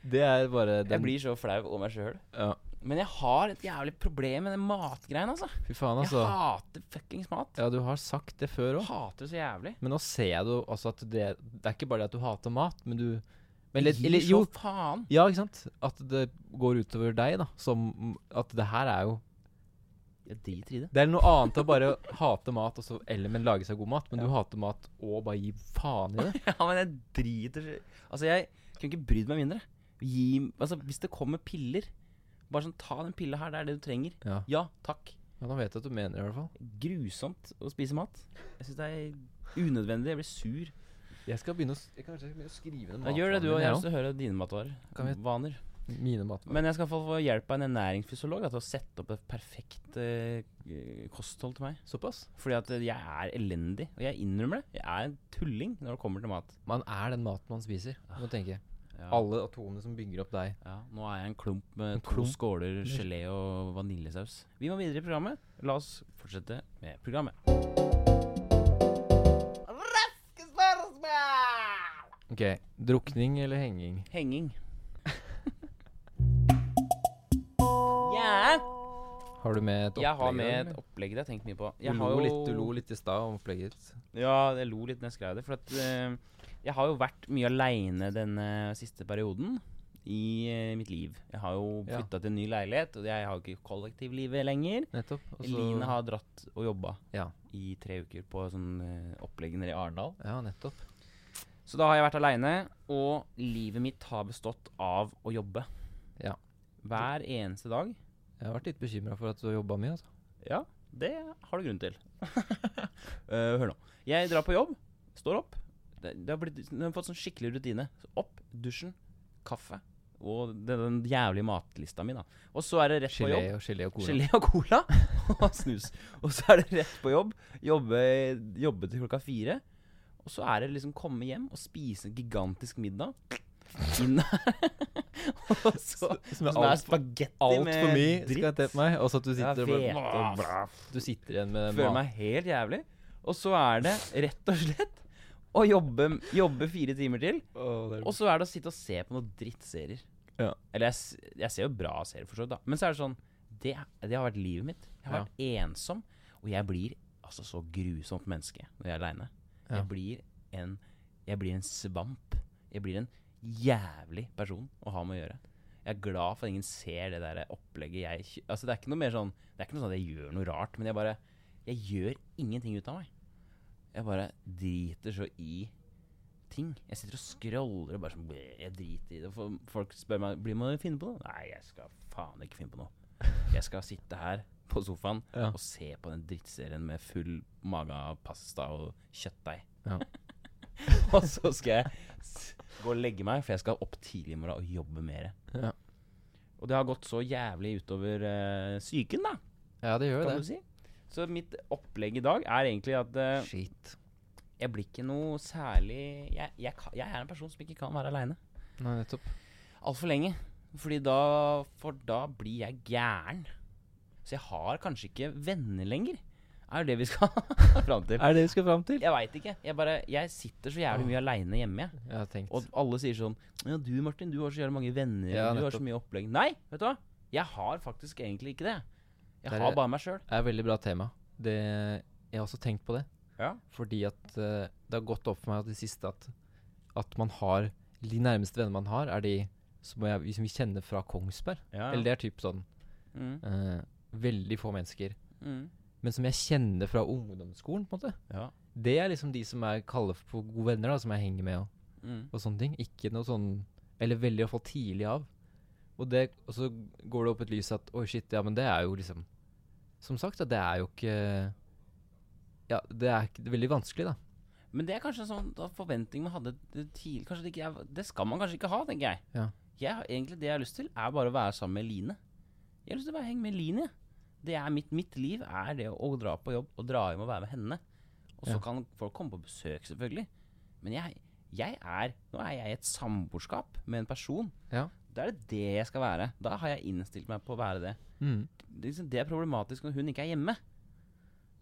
Det er bare den Jeg blir så flau over meg sjøl. ja. Men jeg har et jævlig problem med den matgreien, altså. Fy faen, altså. Jeg hater fuckings mat. Ja, du har sagt det før òg. Hater det så jævlig. Men nå ser jeg jo altså at det Det er ikke bare det at du hater mat, men du men litt, Gir eller, så Jo, faen. ja, ikke sant? At det går utover deg, da. Som at det her er jo Jeg driter i det. Det er noe annet å bare hate mat, og så, eller men lage seg god mat. Men du hater mat og bare gi faen *laughs* i det. *laughs* Ja, men jeg driter så Altså, jeg kunne ikke brydd meg mindre. Gi Altså, hvis det kommer piller Bare sånn, ta den pilla her, det er det du trenger. Ja, Ja, takk. ja Nå vet jeg at du mener det, i hvert fall. Grusomt å spise mat. Jeg syns det er unødvendig. Jeg blir sur. Jeg skal begynne å, s- jeg kanskje jeg skal begynne å skrive ned Ja, gjør det, du og jeg. har matvanene lyst til å høre dine matvarer. Kan vi- Vaner. mine også. Mine matvaner. Men jeg skal i hvert fall få hjelp av en ernæringsfysiolog da, til å sette opp et perfekt eh, eh, kosthold til meg. Såpass? Fordi at eh, jeg er elendig, og jeg innrømmer det. Jeg er en tulling når det kommer til mat. Man er den maten man spiser. Du må tenke. Ah, Ja. Alle atomene som bygger opp deg. Ja, nå er jeg en klump med En to klump? skåler gelé og vaniljesaus. Vi må videre i programmet. La oss fortsette med programmet. Ok, Drukning eller henging? Henging. Ja Har du med et opplegg? Jeg har eller? med et opplegg det har jeg tenkt mye på. Jeg du, har lo jo- litt, du lo litt i stad om opplegget ditt. Ja, jeg lo litt når jeg skrev det. For at eh, jeg har jo vært mye aleine denne siste perioden i eh, mitt liv. Jeg har jo Ja. flytta til en ny leilighet, og jeg har jo ikke kollektivlivet lenger. Nettopp. og så- Eline har dratt og jobba Ja. i tre uker på sånn eh, opplegg nede i Arendal. ja, nettopp. Så da har jeg vært aleine, og livet mitt har bestått av å jobbe. Ja. Hver eneste dag. Jeg har vært litt bekymra for at du har jobba mye. Altså. Ja, det har du grunn til. *laughs* Eh, hør nå. Jeg drar på jobb, står opp. Det, det har blitt, den har fått sånn skikkelig rutine. Så opp, dusjen, kaffe og den, den jævlige matlista mi, da. Og så er det rett på jobb. Gelé og gelé og cola. Gelé og cola *laughs* og snus. Og så er det rett på jobb. Jobbe, jobbe til klokka fire. Og så er det liksom komme hjem og spise en gigantisk middag. Inn *laughs* og så *laughs* Som er sånn der alt, spagetti alt for mye med dritt. skal til meg. Og så at du sitter, og Jeg vet, bare, og bra. du sitter igjen med Føler mat. meg helt jævlig. Og så er det rett og slett å jobbe, jobbe fire timer til. Å, det er- Og så er det å sitte og se på noen drittserier. Ja. Eller jeg, s- jeg ser jo bra serier, for så vidt, da. Men så er det sånn Det, det har vært livet mitt. Jeg har Ja. vært ensom. Og jeg blir altså så grusomt menneske når jeg er aleine. Ja. Jeg blir en Jeg blir en svamp. Jeg blir en jævlig person å ha med å gjøre. Jeg er glad for at ingen ser det der opplegget jeg kjø- Altså Det er ikke noe mer sånn Det er ikke noe sånn at jeg gjør noe rart, men jeg bare Jeg gjør ingenting ut av meg. Jeg bare driter så i ting. Jeg sitter og scroller og bare sånn bleh, Jeg driter i det. For folk spør meg Blir man finne på noe. Nei, jeg skal faen ikke finne på noe. Jeg skal sitte her på sofaen Ja. og se på den drittserien med full mage av pasta og kjøttdeig. *laughs* og så skal jeg s- gå og legge meg, for jeg skal opp tidlig i morgen og jobbe mer. Ja. Og det har gått så jævlig utover eh, psyken, da, Ja, det gjør jo kan det. du si. Så mitt opplegg i dag er egentlig at eh, Shit. jeg blir ikke noe særlig jeg, jeg, ka- jeg er en person som ikke kan være aleine Nei, nettopp. altfor lenge. Fordi da, for da blir jeg gæren. Så jeg har kanskje ikke venner lenger. Er jo det vi skal *laughs* fram til. det det vi skal fram til? Jeg veit ikke. Jeg, bare, jeg sitter så jævlig mye aleine hjemme. jeg. Jeg har tenkt. Og alle sier sånn Ja, du Martin, du har så jævlig mange venner. Ja, du har nettopp. så mye opplegg. Nei, vet du hva. Jeg har faktisk egentlig ikke det. Jeg Der er- har bare meg sjøl. Det er et veldig bra tema. Det, jeg har også tenkt på det. Ja. Fordi at eh, det har gått opp for meg at det siste at, at man har De nærmeste venner man har, er de som, jeg, som vi kjenner fra Kongsberg. Eller det er typ sånn Mm, eh, Veldig få mennesker. mm. Men som jeg kjenner fra ungdomsskolen, på en måte. Ja. Det er liksom de som jeg kaller for gode venner, da, som jeg henger med og, Mm. og sånne ting. Ikke noe sånn Eller veldig å få tidlig av. Og, det, og så går det opp et lys at oi, shit, ja, men det er jo liksom Som sagt, da, det er jo ikke Ja, det er, ikke- det er veldig vanskelig, da. Men det er kanskje en sånn da forventning man hadde tidlig Kanskje det ikke er Det skal man kanskje ikke ha, tenker jeg. Ja. jeg. har- Egentlig det jeg har lyst til, er bare å være sammen med Line. Jeg har lyst til å bare henge med Line. jeg. Det er mitt, mitt liv er det å dra på jobb og dra hjem og være med henne. Og så Ja. kan folk komme på besøk, selvfølgelig. Men jeg, jeg er Nå er jeg i et samboerskap med en person. Ja. Da er det det jeg skal være. Da har jeg innstilt meg på å være det Mm. det, er liksom, det er problematisk når hun ikke er hjemme.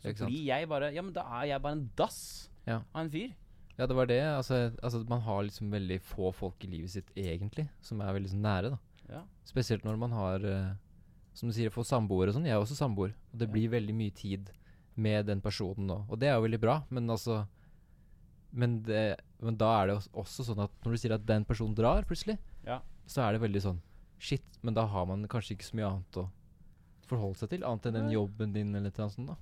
Så Ikke sant? blir jeg bare Ja, men da er jeg bare en dass Ja. av en fyr. Ja, det var det. Altså, altså man har liksom veldig få folk i livet sitt egentlig, som er veldig sånn nære, da. Ja. Spesielt når man har, eh, som du sier, få samboer og sånn. Jeg er også samboer. Og det Ja. blir veldig mye tid med den personen nå. Og det er jo veldig bra, men altså Men, det, men da er det os- også sånn at når du sier at den personen drar plutselig, Ja. så er det veldig sånn Shit, men da har man kanskje ikke så mye annet å forholde seg til, annet enn den Nei. jobben din eller et eller annet sånt, da.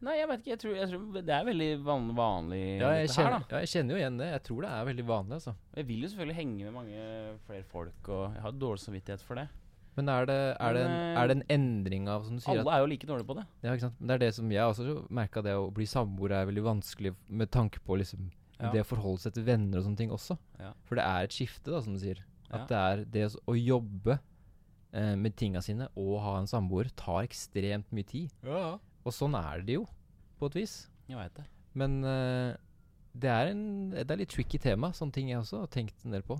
Nei, jeg vet ikke. Jeg tror, jeg tror det er veldig van vanlig, Ja, jeg dette kjenner, her, ja, jeg kjenner jo igjen det. Jeg tror det er veldig vanlig, altså. da. Jeg vil jo selvfølgelig henge med mange flere folk, og jeg har dårlig samvittighet for det. Men er det, er, det en, Men, eh, er det en endring av som du sier Alle er jo like dårlige på det. at, ja, ikke sant? Men Det er det som jeg også merka, det å bli samboer er veldig vanskelig med tanke på liksom, Ja. det å forholde seg til venner og sånne ting også. Ja. For det er et skifte, da, som du sier. Ja. At det er det å s- å jobbe eh, med tinga sine og ha en samboer tar ekstremt mye tid. Og sånn er det jo, på et vis. Jeg vet det. Men eh, det, er en, det er litt tricky tema, sånne ting jeg også har tenkt en del på.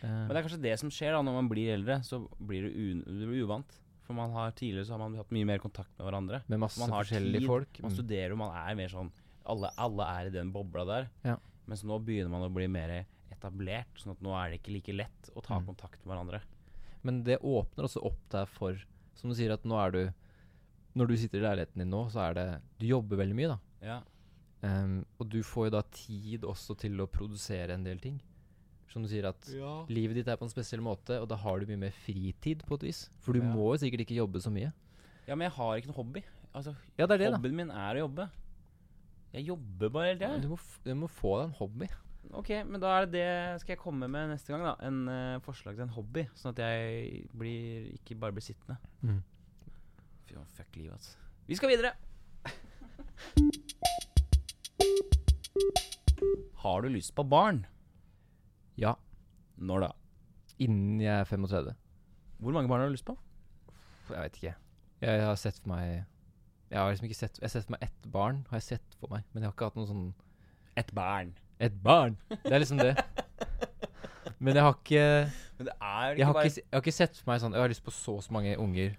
Eh, Men det er kanskje det som skjer da når man blir eldre. Så blir du, un du blir uvant. For man har tidligere så har man hatt mye mer kontakt med hverandre. med masse man har forskjellige tid, folk. Man Mm. studerer, og man er mer sånn Alle, alle er i den bobla der. Ja. Mens nå begynner man å bli mer etablert, sånn at nå er det ikke like lett å ta Mm. kontakt med hverandre. Men det åpner også opp deg for Som du sier at nå er du Når du sitter i leiligheten din nå, så er det Du jobber veldig mye, da. Ja. Ehm, og du får jo da tid også til å produsere en del ting. Som du sier at livet ditt er på en spesiell måte, og da har du mye mer fritid på et vis. For du Ja. må jo sikkert ikke jobbe så mye. ja, men jeg har ikke noe hobby. Altså, Ja, det er det, da. Hobbyen min er å jobbe. Jeg jobber bare hele tida. Du må, f du må få deg en hobby. Ok, men da er det det skal jeg komme med neste gang, da. En eh, forslag til en hobby, sånn at jeg blir, ikke bare blir sittende. Mm. Fy faen, fuck livet, altså. Vi skal videre! *laughs* Har du lyst på barn? Ja, Når da? innen jeg er 35. Hvor mange barn har du lyst på? Jeg veit ikke. Jeg har sett for meg Jeg har liksom ikke sett Jeg har sett for meg ett barn, har jeg sett for meg. Men jeg har ikke hatt noen sånn Et barn. Et barn! Det er liksom det. Men jeg har ikke, Men det er jeg har ikke, s- jeg har ikke sett for meg sånn Jeg har lyst på så og så mange unger.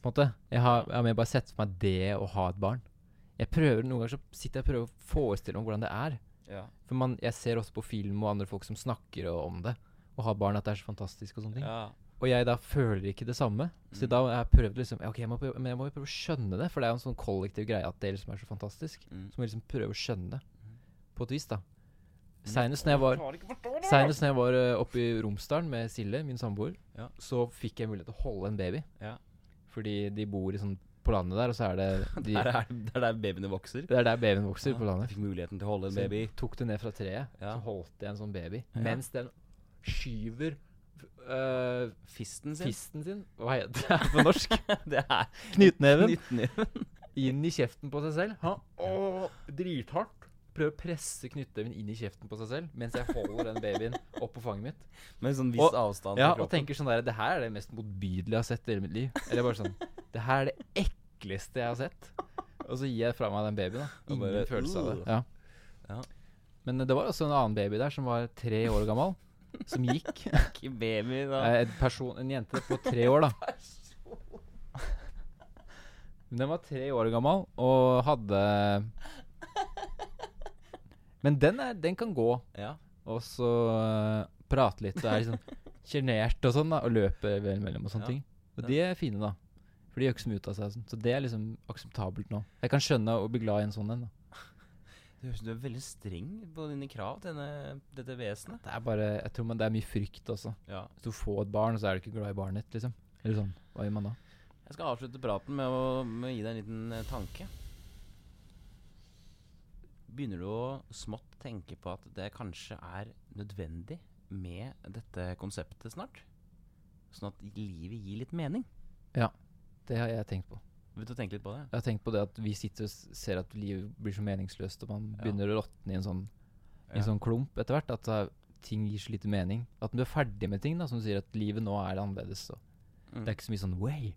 På en måte Jeg har, jeg har mer bare sett for meg det å ha et barn. Jeg prøver Noen ganger så sitter jeg og prøver å forestille meg hvordan det er. ja. For man, jeg ser også på film og andre folk som snakker og om det. Å ha barn, at det er så fantastisk og sånne ting. ja. Og jeg da føler ikke det samme. Så Mm. da har jeg prøvd liksom Ok, jeg må, prøve, men jeg må jo prøve å skjønne det, for det er jo en sånn kollektiv greie at det liksom er så fantastisk. Mm. Så må jeg liksom prøve å skjønne det. På et vis, da. Men Seinest når jeg var Klarer ikke å forstå det! Senest når jeg var eh, oppe i Romsdalen med Sille, min samboer, Ja. så fikk jeg mulighet til å holde en baby. Ja. Fordi de bor i sånn på landet der, og så er det *laughs* de, Der er det er der babyene vokser. Det er der babyen vokser, Ja, på Jeg landet. fikk muligheten til å holde en Så baby. jeg tok det ned fra treet, Ja. så holdt jeg en sånn baby. Ja. Mens den skyver øh, Fisten sin. fisten sin Hva heter det *laughs* på norsk? *laughs* det er Knyttneven. knyttneven. Inn i kjeften på seg selv. Ha, å, drithardt. Prøver å presse knyttneven inn i kjeften på seg selv mens jeg holder den babyen opp på fanget mitt. *laughs* Med sånn viss Og- avstand Ja, til Og kroppen. tenker sånn der Det her er det mest motbydelige jeg har sett i hele mitt liv. Eller bare sånn Det her er det ekleste jeg har sett. Og så gir jeg fra meg den babyen. da Og Ingen bare, følelse av det. «Ugh». Ja. Ja. Men eh, det var også en annen baby der som var tre år gammel, som gikk. Ikke baby, da. Eh, En, person, en jente på tre år, *laughs* da. Men den var tre år gammel og hadde Men den, er, den kan gå, Ja. og så eh, prate litt og er liksom sjenert og sånn, da. Og løpe vel mellom og Ja. sånne ting. Og de er fine, da. For de gjør ikke så mye ut av seg. og Sånn. Så det er liksom akseptabelt nå. Jeg kan skjønne å bli glad i en sånn en. da. Du høres ut som du er veldig streng på dine krav til denne, dette vesenet. Det er bare, jeg tror man, det er mye frykt også. Ja. Hvis du får et barn, så er du ikke glad i barnet ditt, liksom. Eller sånn, hva gjør man da? Jeg skal avslutte praten med å, med å gi deg en liten eh, tanke. Begynner du å smått tenke på at det kanskje er nødvendig med dette konseptet snart? Sånn at livet gir litt mening? Det har jeg tenkt på. Begynte å tenke litt på det. Jeg har tenkt på det at vi sitter og s- ser at livet blir så meningsløst, og man Ja. begynner å råtne i en sånn, i en Ja. sånn klump etter hvert. At eh, ting gir så lite mening. At du er ferdig med ting, da, som du sier at livet nå er annerledes. Og Mm. Det er ikke så mye sånn way.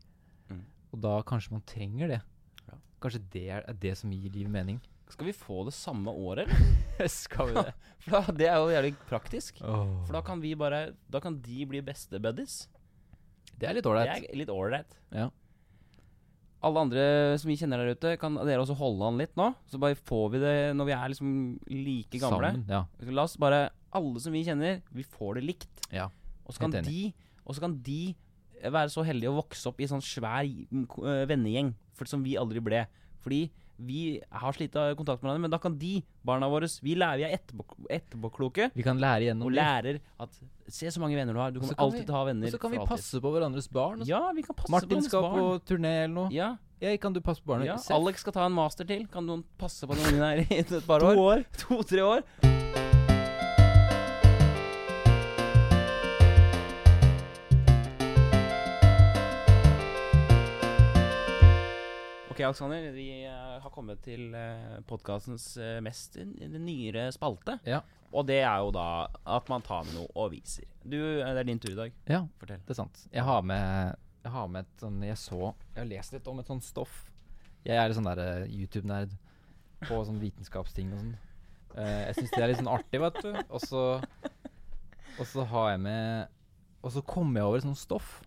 Mm. Og da kanskje man trenger det. Ja. Kanskje det er, er det som gir livet *laughs* mening. Skal vi få det samme året, eller? Skal vi *laughs* det? *laughs* For da, det er jo jævlig praktisk. For For da kan vi bare Da kan de bli beste buddies. da- Det er litt Det ålreit. er litt ålreit. Ja. Alle andre som vi kjenner der ute, kan dere også holde an litt nå? Så bare får vi det når vi er liksom like gamle. Sammen, ja. La oss bare Alle som vi kjenner, vi får det likt. Ja, Og så kan helt de Og så kan de være så heldige å vokse opp i sånn svær mm, ko- eh, vennegjeng for, som vi aldri ble. Fordi vi har slitt av kontakt med hverandre, men da kan de, barna våre Vi lærer vi er etterpå- etterpåkloke. Vi kan lære gjennom Og det. lærer at Se så mange venner du har. Du Og så kommer kan alltid vi- til å ha venner. Og så kan for vi alltid. passe på hverandres barn. og sånn. Ja, vi kan passe på Martin hennes skal barn. på turné eller noe. Ja, Jeg kan du passe på barnet? ja. Seff. Alex skal ta en master til. Kan noen passe på den ungen her i et par år? *laughs* To-tre år. Ok, Alexander, vi eh, har kommet til eh, podkastens eh, mest n- nyere spalte. Ja. Og det er jo da at man tar med noe og viser. Du, eh, det er din tur i dag. ja, Fortell. det er sant. Jeg har med, jeg har med et sånn Jeg så Jeg har lest litt om et sånt stoff. Jeg er litt sånn der eh, YouTube-nerd på sånn vitenskapsting og sånn. Eh, jeg syns det er litt sånn artig, vet du. Og så Og så har jeg med Og så kom jeg over et sånt stoff.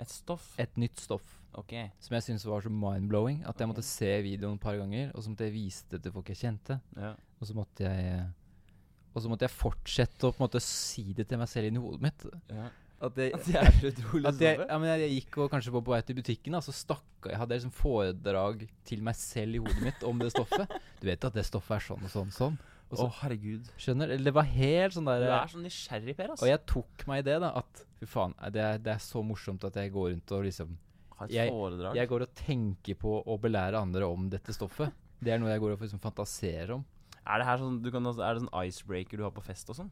Et stoff. Et nytt stoff. Ok. Som jeg syntes var så mind-blowing at jeg Ok. måtte se videoen et par ganger. Og så måtte jeg vise det til folk jeg kjente. Ja. Og så måtte jeg Og så måtte jeg fortsette å på en måte si det til meg selv inni hodet mitt. ja. At jeg, *laughs* Det er utrolig at jeg, ja, men jeg, jeg gikk og kanskje var på vei til butikken, da, så stakk jeg hadde liksom foredrag til meg selv i hodet mitt om det stoffet. Du vet at det stoffet er sånn og sånn sånn. og så- herregud. Skjønner? Eller det var helt sånn Du der er så nysgjerrig, Per. ass. Og jeg tok meg i det, da. At fy faen, eh, det er, det er så morsomt at jeg går rundt og liksom Har et jeg- foredrag. Jeg går og tenker på å belære andre om dette stoffet. Det er noe jeg går og liksom fantaserer om. er det her sånn, du kan, altså- er det sånn icebreaker du har på fest og sånn?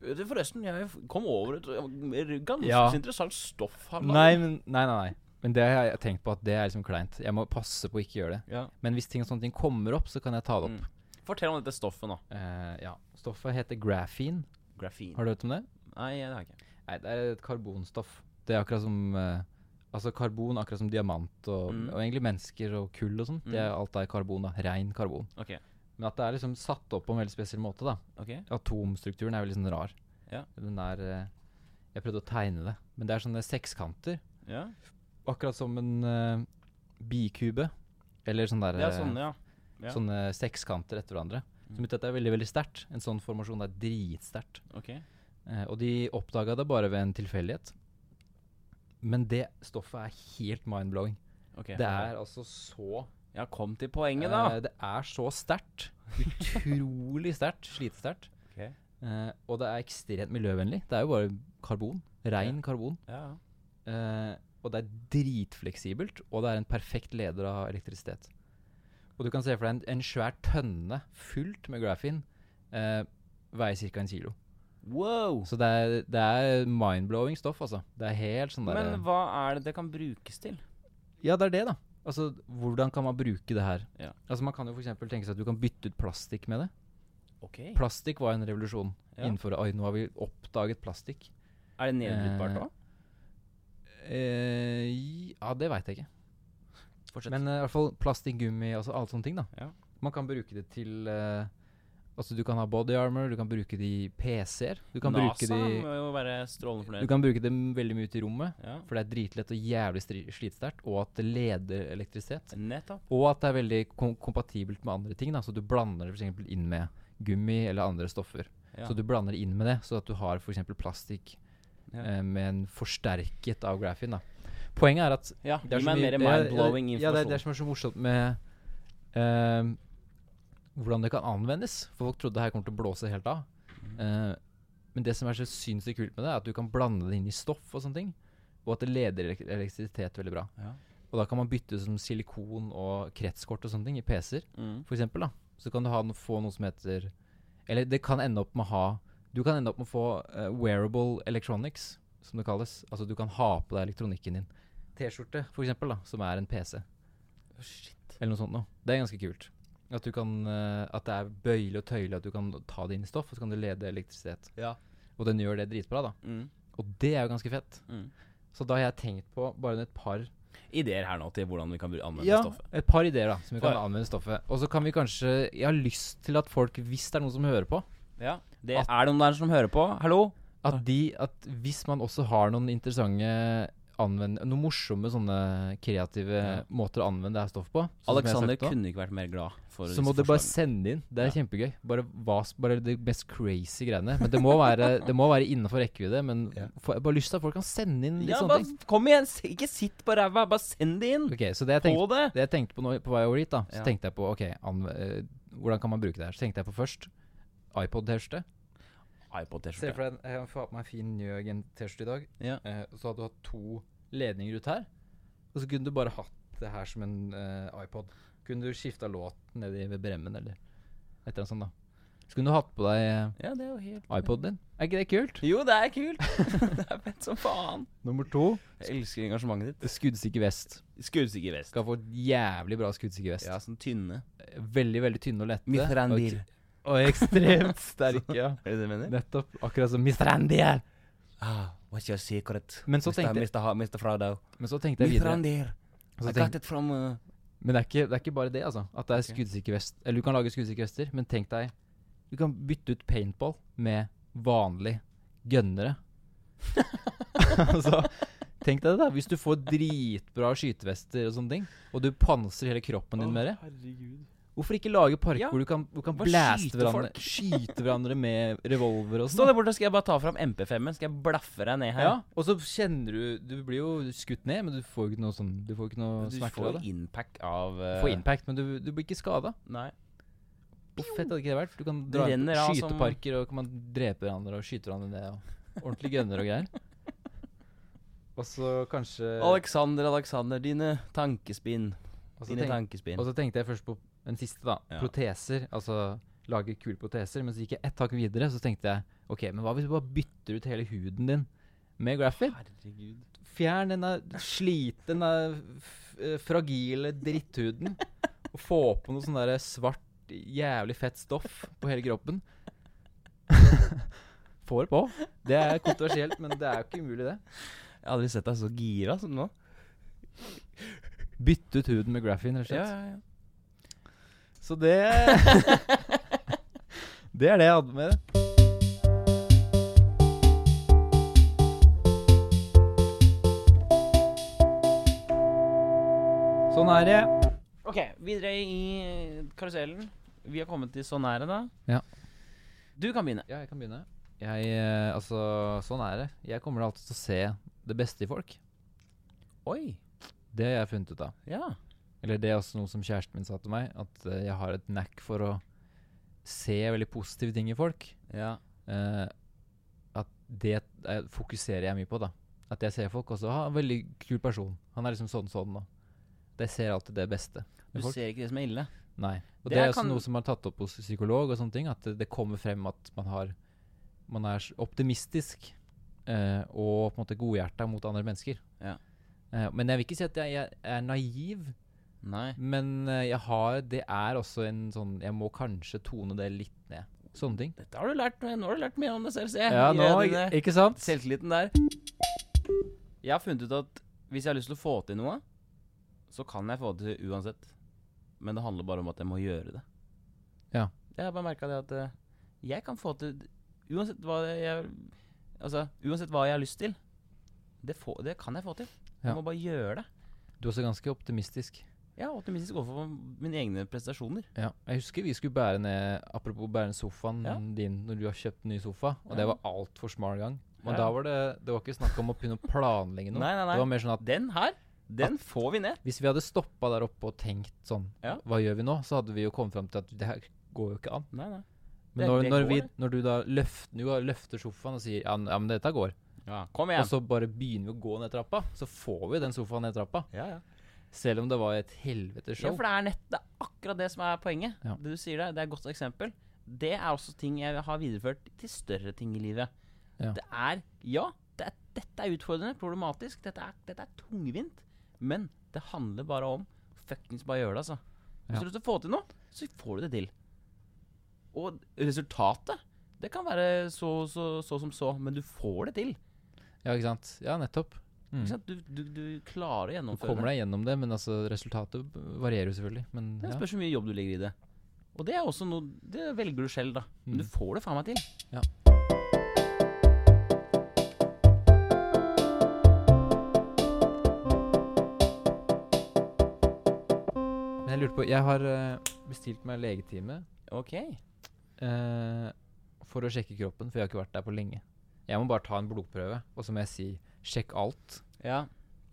Vet du, Forresten, jeg kom over et et ganske Ja. interessant stoff her. mann. Nei, men Nei, nei, nei. Men det har jeg tenkt på at det er liksom kleint. Jeg må passe på å ikke gjøre det. Ja. Men hvis ting og sånne ting kommer opp, så kan jeg ta det opp. Mm. Fortell om dette stoffet nå. Eh, ja. Stoffet heter grafin. Grafin. Har du hørt om det? Nei, det har jeg ikke. Nei, det er et karbonstoff. Det er akkurat som eh, Altså karbon, akkurat som diamant og, Mm. og egentlig mennesker og kull og sånn. Det er Alt er karbon, da. Rein karbon. Ok. Men at det er liksom satt opp på en veldig spesiell måte, da. ok. Atomstrukturen er veldig sånn rar. Ja. Den er eh, Jeg prøvde å tegne det, men det er sånne sekskanter. Ja. Akkurat som en eh, bikube. Eller sånn der Det er eh, sånn, ja. ja. Mm. Sånne sekskanter etter hverandre. Som betyr at det er veldig veldig sterkt. En sånn formasjon er dritsterkt. Ok. Eh, og de oppdaga det bare ved en tilfeldighet. Men det stoffet er helt mind-blowing. ok. Det er altså så Ja, kom til poenget, da. eh, Det er så sterkt. Utrolig sterkt. Slitesterkt. Ok. Eh, og det er ekstremt miljøvennlig. Det er jo bare karbon. Rein karbon. Ja. Eh, og det er dritfleksibelt, og det er en perfekt leder av elektrisitet. Og du kan se for deg en, en svær tønne fullt med grafin eh, veier ca. en kilo. Wow. Så det er, det er mind-blowing stoff, altså. Det er helt sånn derre Men hva er det det kan brukes til? Ja, det er det, da. Altså, hvordan kan man bruke det her? Ja. Altså, Man kan jo f.eks. tenke seg at du kan bytte ut plastikk med det. Ok. Plastikk var en revolusjon Ja. innenfor Oi, nå har vi oppdaget plastikk. Er det nedbrytbart Eh, da? Eh, ja, det veit jeg ikke. Fortsett. Men eh, i hvert fall plastikk, gummi, altså alle sånne ting. da Ja. Man kan bruke det til eh, Altså Du kan ha body armor, du kan bruke det i PC-er. Du, kan bruke NASA det i- må jo være strålende du fornøyd. kan bruke det veldig mye til rommet, Ja. for det er dritlett og jævlig stri- slitsterkt, og at det leder elektrisitet. Nettopp. Og at det er veldig kom kompatibelt med andre ting. da Så du blander det for eksempel inn med gummi eller andre stoffer. Ja. Så du blander det inn med det, så at du har for eksempel plastikk Ja. eh, med en forsterket av graphene. da. Poenget er at ja, det er gi så meg mye- mer ja, ja, Ja, mind-blowing det, er- informasjon. det er som er så morsomt med ehm, hvordan det kan anvendes. For folk trodde det her kommer til å blåse helt av. Mm. Eh, men det som er så sinnssykt kult med det, er at du kan blande det inn i stoff og sånne ting. Og at det leder elek- elektrisitet veldig bra. Ja. Og da kan man bytte som silikon og kretskort og sånne ting i PC-er, Mm. for eksempel, da. Så kan du ha, no- få noe som heter Eller det kan ende opp med å ha Du kan ende opp med å få eh, wearable electronics, som det kalles. Altså du kan ha på deg elektronikken din. T-skjorte, for eksempel, da, som er en PC. Å, Shit. Eller noe sånt noe. Det er ganske kult. At, du kan, eh, at det er bøyelig og tøyelig, at du kan ta det inn i stoff, og så kan du lede elektrisitet. Ja. Og den gjør det dritbra, da. Mm. Og det er jo ganske fett. Mm. Så da har jeg tenkt på bare et par Ideer her nå til hvordan vi kan bru- anvende stoffet. et par ideer da som vi kan For- anvende stoffet. Og så kan vi kanskje Jeg har lyst til at folk, hvis det er noen som hører på Ja. Det At- er det noen der som hører på. Hallo? At de At hvis man også har noen interessante anvend, Noen morsomme sånne kreative Ja. måter å anvende det her stoffet på sånn som jeg har Alexander sagt nå. kunne ikke vært mer glad for Så må disse du bare forslagene. sende inn. Det er Ja. kjempegøy. Bare, hva s- bare de mest crazy greiene. Men det må være, det må være innenfor rekkevidde. Men Ja. få- jeg har bare lyst til at folk kan sende inn litt Ja, sånne bare ting. kom igjen! s- Ikke sitt på ræva, bare send det inn! Ok, Så det jeg tenkte, På det! det jeg tenkte på nå, på vei over dit, da, så Ja. tenkte jeg på ok, anv- eh, hvordan kan man bruke det her. Så tenkte jeg på først iPod-T-skjorte. Se iPod-T-skjorte. for deg jeg får på meg en fin Njøgen-T-skjorte i dag. Eh, Ja. så hadde du hatt to ledninger ut her. Og så kunne du bare hatt det her som en eh, iPod. Kunne du skifta låt nedi ved bremmen, eller et eller annet sånt, da. Så kunne du hatt på deg eh, ja, det er jo helt iPoden din. Er ikke det kult? Jo, det er *laughs* kult! *laughs* det er fett som faen. Nummer to. Jeg elsker engasjementet ditt. Skuddsikker vest. Skuddsikker vest. Skal få jævlig bra skuddsikker vest. Ja, sånn tynne. Veldig, veldig tynne og lette. Mithrandir. Og, og *laughs* ekstremt sterke. Ja. Er det det du mener? Nettopp. Akkurat som Mithrandir. Ah, what's your secret? Men så Mr. tenkte- Mr. Ha- Mr. Frodo. Men så tenkte jeg videre. Mithrandir. Så I tenkte- got it from uh, Men det er, ikke, det er ikke bare det, altså. At det er Ok. skuddsikker vest. Eller du kan lage skuddsikre vester, men tenk deg Du kan bytte ut paintball med vanlig gønnere. *laughs* altså, tenk deg det, da. Hvis du får dritbra skytevester og sånne ting, og du pansrer hele kroppen din med det, hvorfor ikke lage parker Ja. hvor du kan, hvor du kan Bare blæste skyte hverandre folk. Skyte hverandre med revolver og Stå sånn. der borte, skal jeg bare ta fram MP5-en. Skal jeg blaffe deg ned her? Ja, og så kjenner du Du blir jo skutt ned, men du får jo ikke noe sånn Du får jo ikke noe Du smerter får av det. impact av uh, Få impact, men du, du blir ikke skada. Nei. Hvor fett hadde ikke det vært? Du kan Det dra inn renner på av som- skyteparker og kan man drepe hverandre og skyte hverandre ned. Og ordentlig gønner og greier. *laughs* Og så kanskje og Alexander, Alexander, dine tankespinn. så, Dine tenk, tankespinn. og så tenkte jeg først på en siste, da. Ja. Proteser. Altså lage kule proteser. Men så gikk jeg ett tak videre, så tenkte jeg OK, men hva hvis du bare bytter ut hele huden din med graphene? Herregud. Fjern denne slitne, f- eh, fragile dritthuden. Og få på noe sånn der svart, jævlig fett stoff på hele kroppen. Får på. Det er kontroversielt, men det er jo ikke umulig, det. Jeg har aldri sett deg så gira som nå. Bytte ut huden med graphene, rett og slett. ja, ja. Så det *laughs* Det er det jeg hadde med det. Sånn er det. Ok, videre i karusellen. Vi har kommet til så nære, da. Ja. Du kan begynne. Ja, jeg kan begynne. Jeg, eh, altså, sånn er det. Jeg kommer alltid til å se det beste i folk. Oi. Det har jeg funnet ut av. Ja. Eller det er også noe som kjæresten min sa til meg, at eh, jeg har et knack for å se veldig positive ting i folk. Ja. Eh, at det eh, fokuserer jeg mye på, da. At jeg ser folk også. Ha, en veldig kul person. Han er liksom sånn sånn, da. At jeg ser alltid det beste. Du med folk. ser ikke det som er ille. Nei. Og Det det, er kan- også noe som er tatt opp hos psykolog og sånne ting, at det- det kommer frem at man har Man er s- optimistisk eh, og på en måte godhjerta mot andre mennesker. Ja. Eh, men jeg vil ikke si at jeg, jeg er naiv, Nei. men eh, jeg har Det er også en sånn Jeg må kanskje tone det litt ned. Sånne ting. Dette har du lært, nå har du lært mye om deg selv, ser jeg. Ja, I nå, denne ikke, ikke sant? Selvtilliten der. Jeg har funnet ut at hvis jeg har lyst til å få til noe, så kan jeg få det til uansett. Men det handler bare om at jeg må gjøre det. Ja. Jeg har bare merka det at eh, jeg kan få til Uansett hva jeg Altså, uansett hva jeg har lyst til, det, få, det kan jeg få til. Jeg Ja. må bare gjøre det. Du er også ganske optimistisk. Jeg er optimistisk overfor mine egne prestasjoner. Ja. Jeg husker vi skulle bære ned Apropos bære ned sofaen Ja. din når du har kjøpt ny sofa, og det Ja. var altfor smal gang. Men Ja. da var det Det var ikke snakk om å begynne å planlegge noe. Nei, nei, nei. Det var mer sånn at Den her, den får vi ned. hvis vi hadde stoppa der oppe og tenkt sånn Ja. Hva gjør vi nå? Så hadde vi jo kommet fram til at det her går jo ikke an. Nei, nei. Men Det- når, det når, går, vi, det. når du da løfter, du bare løfter sofaen og sier ja, n- ja men dette går, Ja, kom og igjen. så bare begynner vi å gå ned trappa, så får vi den sofaen ned trappa. Ja, ja. Selv om det var et helvetes Ja, show. for det er, nett, det er akkurat det som er poenget. Ja. Det du sier der, det er et godt eksempel. Det er også ting jeg har videreført til større ting i livet. Ja. Det er Ja, det er, dette er utfordrende, problematisk, dette er, dette er tungvint. Men det handler bare om fuckings bare gjøre det, altså. Hvis Ja. du har lyst til å få til noe, så får du det til. Og resultatet, det kan være så, så, så som så, men du får det til. Ja, ikke sant? Ja, nettopp. Mm. Ikke sant? Du, du, du klarer å Du gjennomføre kommer deg gjennom det, men altså resultatet b- varierer jo selvfølgelig. Men Det ja. spørs hvor mye jobb du legger i det. Og det er også noe Det velger du selv, da. Men du Mm. får det faen meg til. Ja. Men jeg lurte på Jeg har eh, bestilt meg legetime Ok. eh, for å sjekke kroppen, for jeg har ikke vært der på lenge. Jeg må bare ta en blodprøve, og så må jeg si 'sjekk alt'. Ja.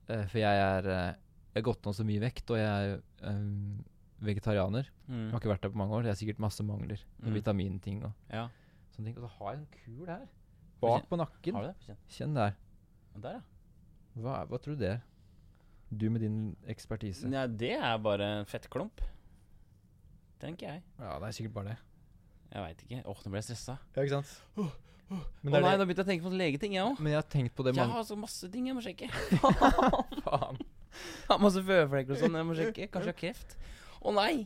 Eh, for jeg er eh, Jeg har gått ned så mye vekt, og jeg er eh, vegetarianer. Jeg har ikke vært der på mange år. Jeg har sikkert masse mangler. Mm. Mm. Vitaminting og ja. sånne ting. Og så har jeg en kul her. Bak på nakken. Har du det? Kjenn der. Der, ja. Hva, er- hva tror du det er? Du med din ekspertise. Nei, det er bare en fettklump. Tenker jeg. Ja, det er sikkert bare det. Jeg veit ikke. Åh, nå ble jeg stressa. Ja, ikke sant? Å Men, det nei, er da begynte jeg å tenke på legeting, jeg òg. det, men jeg har tenkt på det Jeg mange har så masse ting jeg må *laughs* sjekke. *laughs* Faen. Jeg har masse føflekker og sånn jeg må sjekke. Kanskje jeg har kreft. Å nei!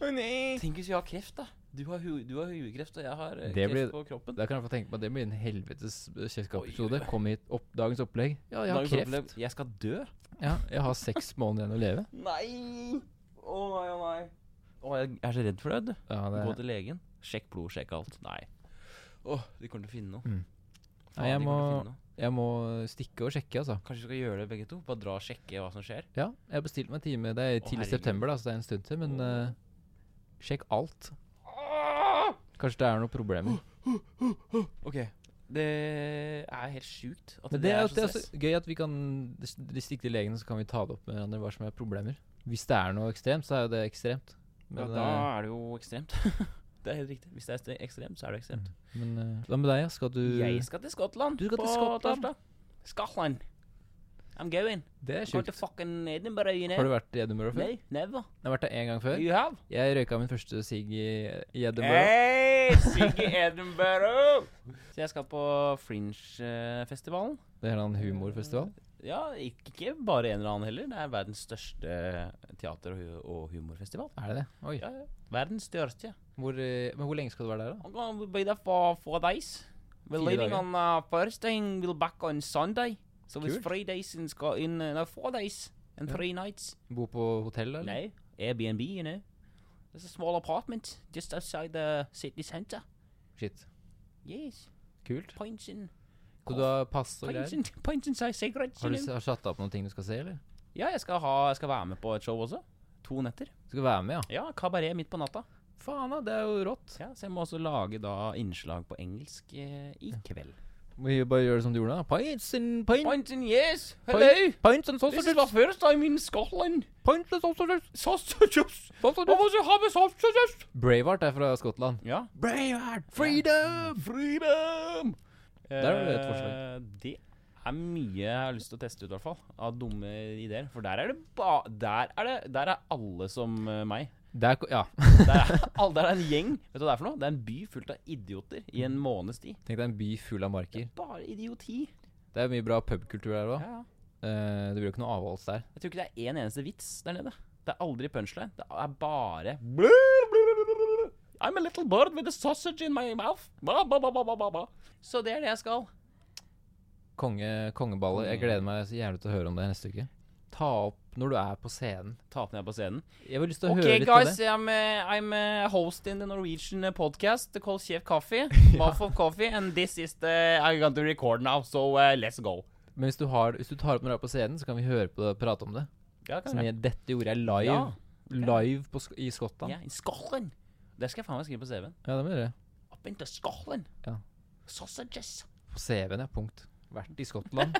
Tenk hvis vi har kreft, da. Du har, hu du har huekreft, og jeg har eh, Det kreft blir- på kroppen. Da kan jeg få tenke på at det blir en helvetes eh, kjeftkappepisode. Oi. Kom hit. Opp, dagens opplegg. Ja, jeg har Dagens opplev- kreft. Jeg skal dø. Ja, jeg har seks måneder igjen å leve. Nei! Å nei, å nei. Å, jeg er så redd for det. vet du. Ja, Gå det, til legen. Sjekk blod, sjekk alt. Nei. Å, de kommer til å finne noe. Mm. Faen, Nei, jeg de kommer til å må- finne noe. jeg må eh, stikke og sjekke, altså. Kanskje vi skal gjøre det begge to? Bare dra og sjekke hva som skjer? Ja, jeg har bestilt meg time. Det er Å, tidlig herregud. september, da, så det er en stund til. Men Å. eh, sjekk alt. Kanskje det er noen problemer. Ok. Det er helt sjukt at det, Men det er, er at det så er stress. så gøy at vi kan dis- dis- stikke til legen, så kan vi ta det opp med hverandre hva som er problemer. Hvis det er noe ekstremt, så er jo det ekstremt. Ja, Men, da eh, er det jo ekstremt. *laughs* det er helt riktig. Hvis det er ekstremt, så er det ekstremt. men eh, hva med deg? ja? Skal du Jeg skal til Skottland Du skal til på Skottland? torsdag. Skottland. I'm going. Det er Going to sjukt. fucking Edinburgh, you know. Har du vært i Edinburgh før? Nei, never. Jeg har vært der én gang før. You have? Jeg røyka min første sigg i, i Edinburgh. Hei, Siggy Edinburgh! *laughs* Så jeg skal på Fringe-festivalen. Det er en humorfestival. Ja, ikke ikke bare en eller annen heller. Det er verdens største teater- og hu- og humorfestival. Er det det? Oi. Ja, ja. Verdens største. Hvor, eh, men hvor lenge skal du være der, da? I'm gonna be there for four days. We're Fire leaving dager. on uh, Thursday and we'll back on Sunday. So Kult. it's three days in Scotland. No, four days and Ja. three nights. Bo på hotell, eller? No, Airbnb, you know. There's a small apartment just outside the city centre. Shit. Yes, Kult. pints and Så du har pass og Pints greier? and, pints and si- cigarettes, Har you du know. s- har satt opp noen ting du skal se, eller? Ja, jeg skal, ha, jeg skal være med på et show også. To netter. Du skal være med, ja. Ja, Kabaret midt på natta. Faen, da. Det er jo rått. Ja, så jeg må også lage da innslag på engelsk eh, i kveld. Må vi bare gjøre det som du gjorde, da. Pints and pint, Pints and yes, hello. pints and This is sausages. my first time in Scotland. Pints and sausages. Sausages! I sausages. want to have a sausages! Braveheart er fra Skottland. Ja. Braveheart, freedom! Freedom! Der var det et forslag. Det er mye jeg har lyst til å teste ut, i hvert fall. Av dumme ideer. For der er det ba... Der er, det, der er alle som eh, meg. Det er, ko- ja, *laughs* Der er, *laughs* all- der er en gjeng. Vet du hva det er for noe? Det er en by fullt av idioter i en måneds tid. tenk deg en by full av marker. Bare idioti. Det er mye bra pubkultur der òg. Ja. det blir jo ikke noe avholds der. Jeg tror ikke det er én eneste vits der nede. Det er aldri punchline. Det er bare I'm a little bird with a sausage in my mouth. Ba, ba, ba, ba, ba, ba, ba. Så det er det jeg skal. Konge, kongeballet. Jeg gleder meg så jævlig til å høre om det neste uke. Ta opp når du er på scenen. Ta opp ned på scenen. Jeg vil lyst til å Ok, høre litt guys, til det. I'm, uh, I'm a host in the Norwegian uh, podcast called Chef *laughs* Coffee. Waffle Coffee, and this is the I'm going to record now, so uh, let's go. Men hvis du, har, hvis du tar opp når du er på scenen, så kan vi høre på det og prate om det. Ja, Som jeg, dette gjorde jeg live Ja, Live på, Sk- i Skottland. ja, i Scotland. Det skal jeg faen meg skrive på CV-en. Ja, det må du gjøre. Up into Scotland. Ja. *laughs* Sausages. På CV-en, ja. Punkt. Vært i *laughs* Skottland.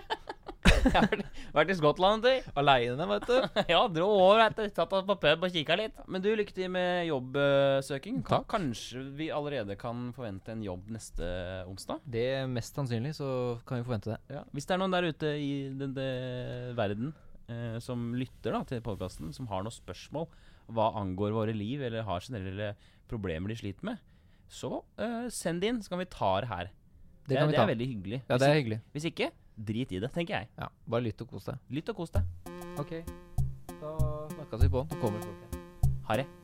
Jeg har vært i Skottland, *laughs* du. Aleine, vet du. Ja, dro over etter satt oss på pub og kikka litt. Men du, lykke til med jobbsøking. Kan, Takk. kanskje vi allerede kan forvente en jobb neste onsdag? Det er mest sannsynlig, så kan vi forvente det. Hvis det er noen der ute i den, den verden eh, som lytter da, til podkasten, som har noen spørsmål hva angår våre liv, eller har generelle problemer de sliter med, så eh, send det inn, så kan vi ta det her. Det kan er- vi det ta. er veldig hyggelig. Ja, hvis, det er hyggelig. hvis ikke, drit i det, tenker jeg. Ja, Bare lytt og kos deg. Lytt og kos deg. Ok, da snakkes vi på. Nå kommer folk her. Ha det.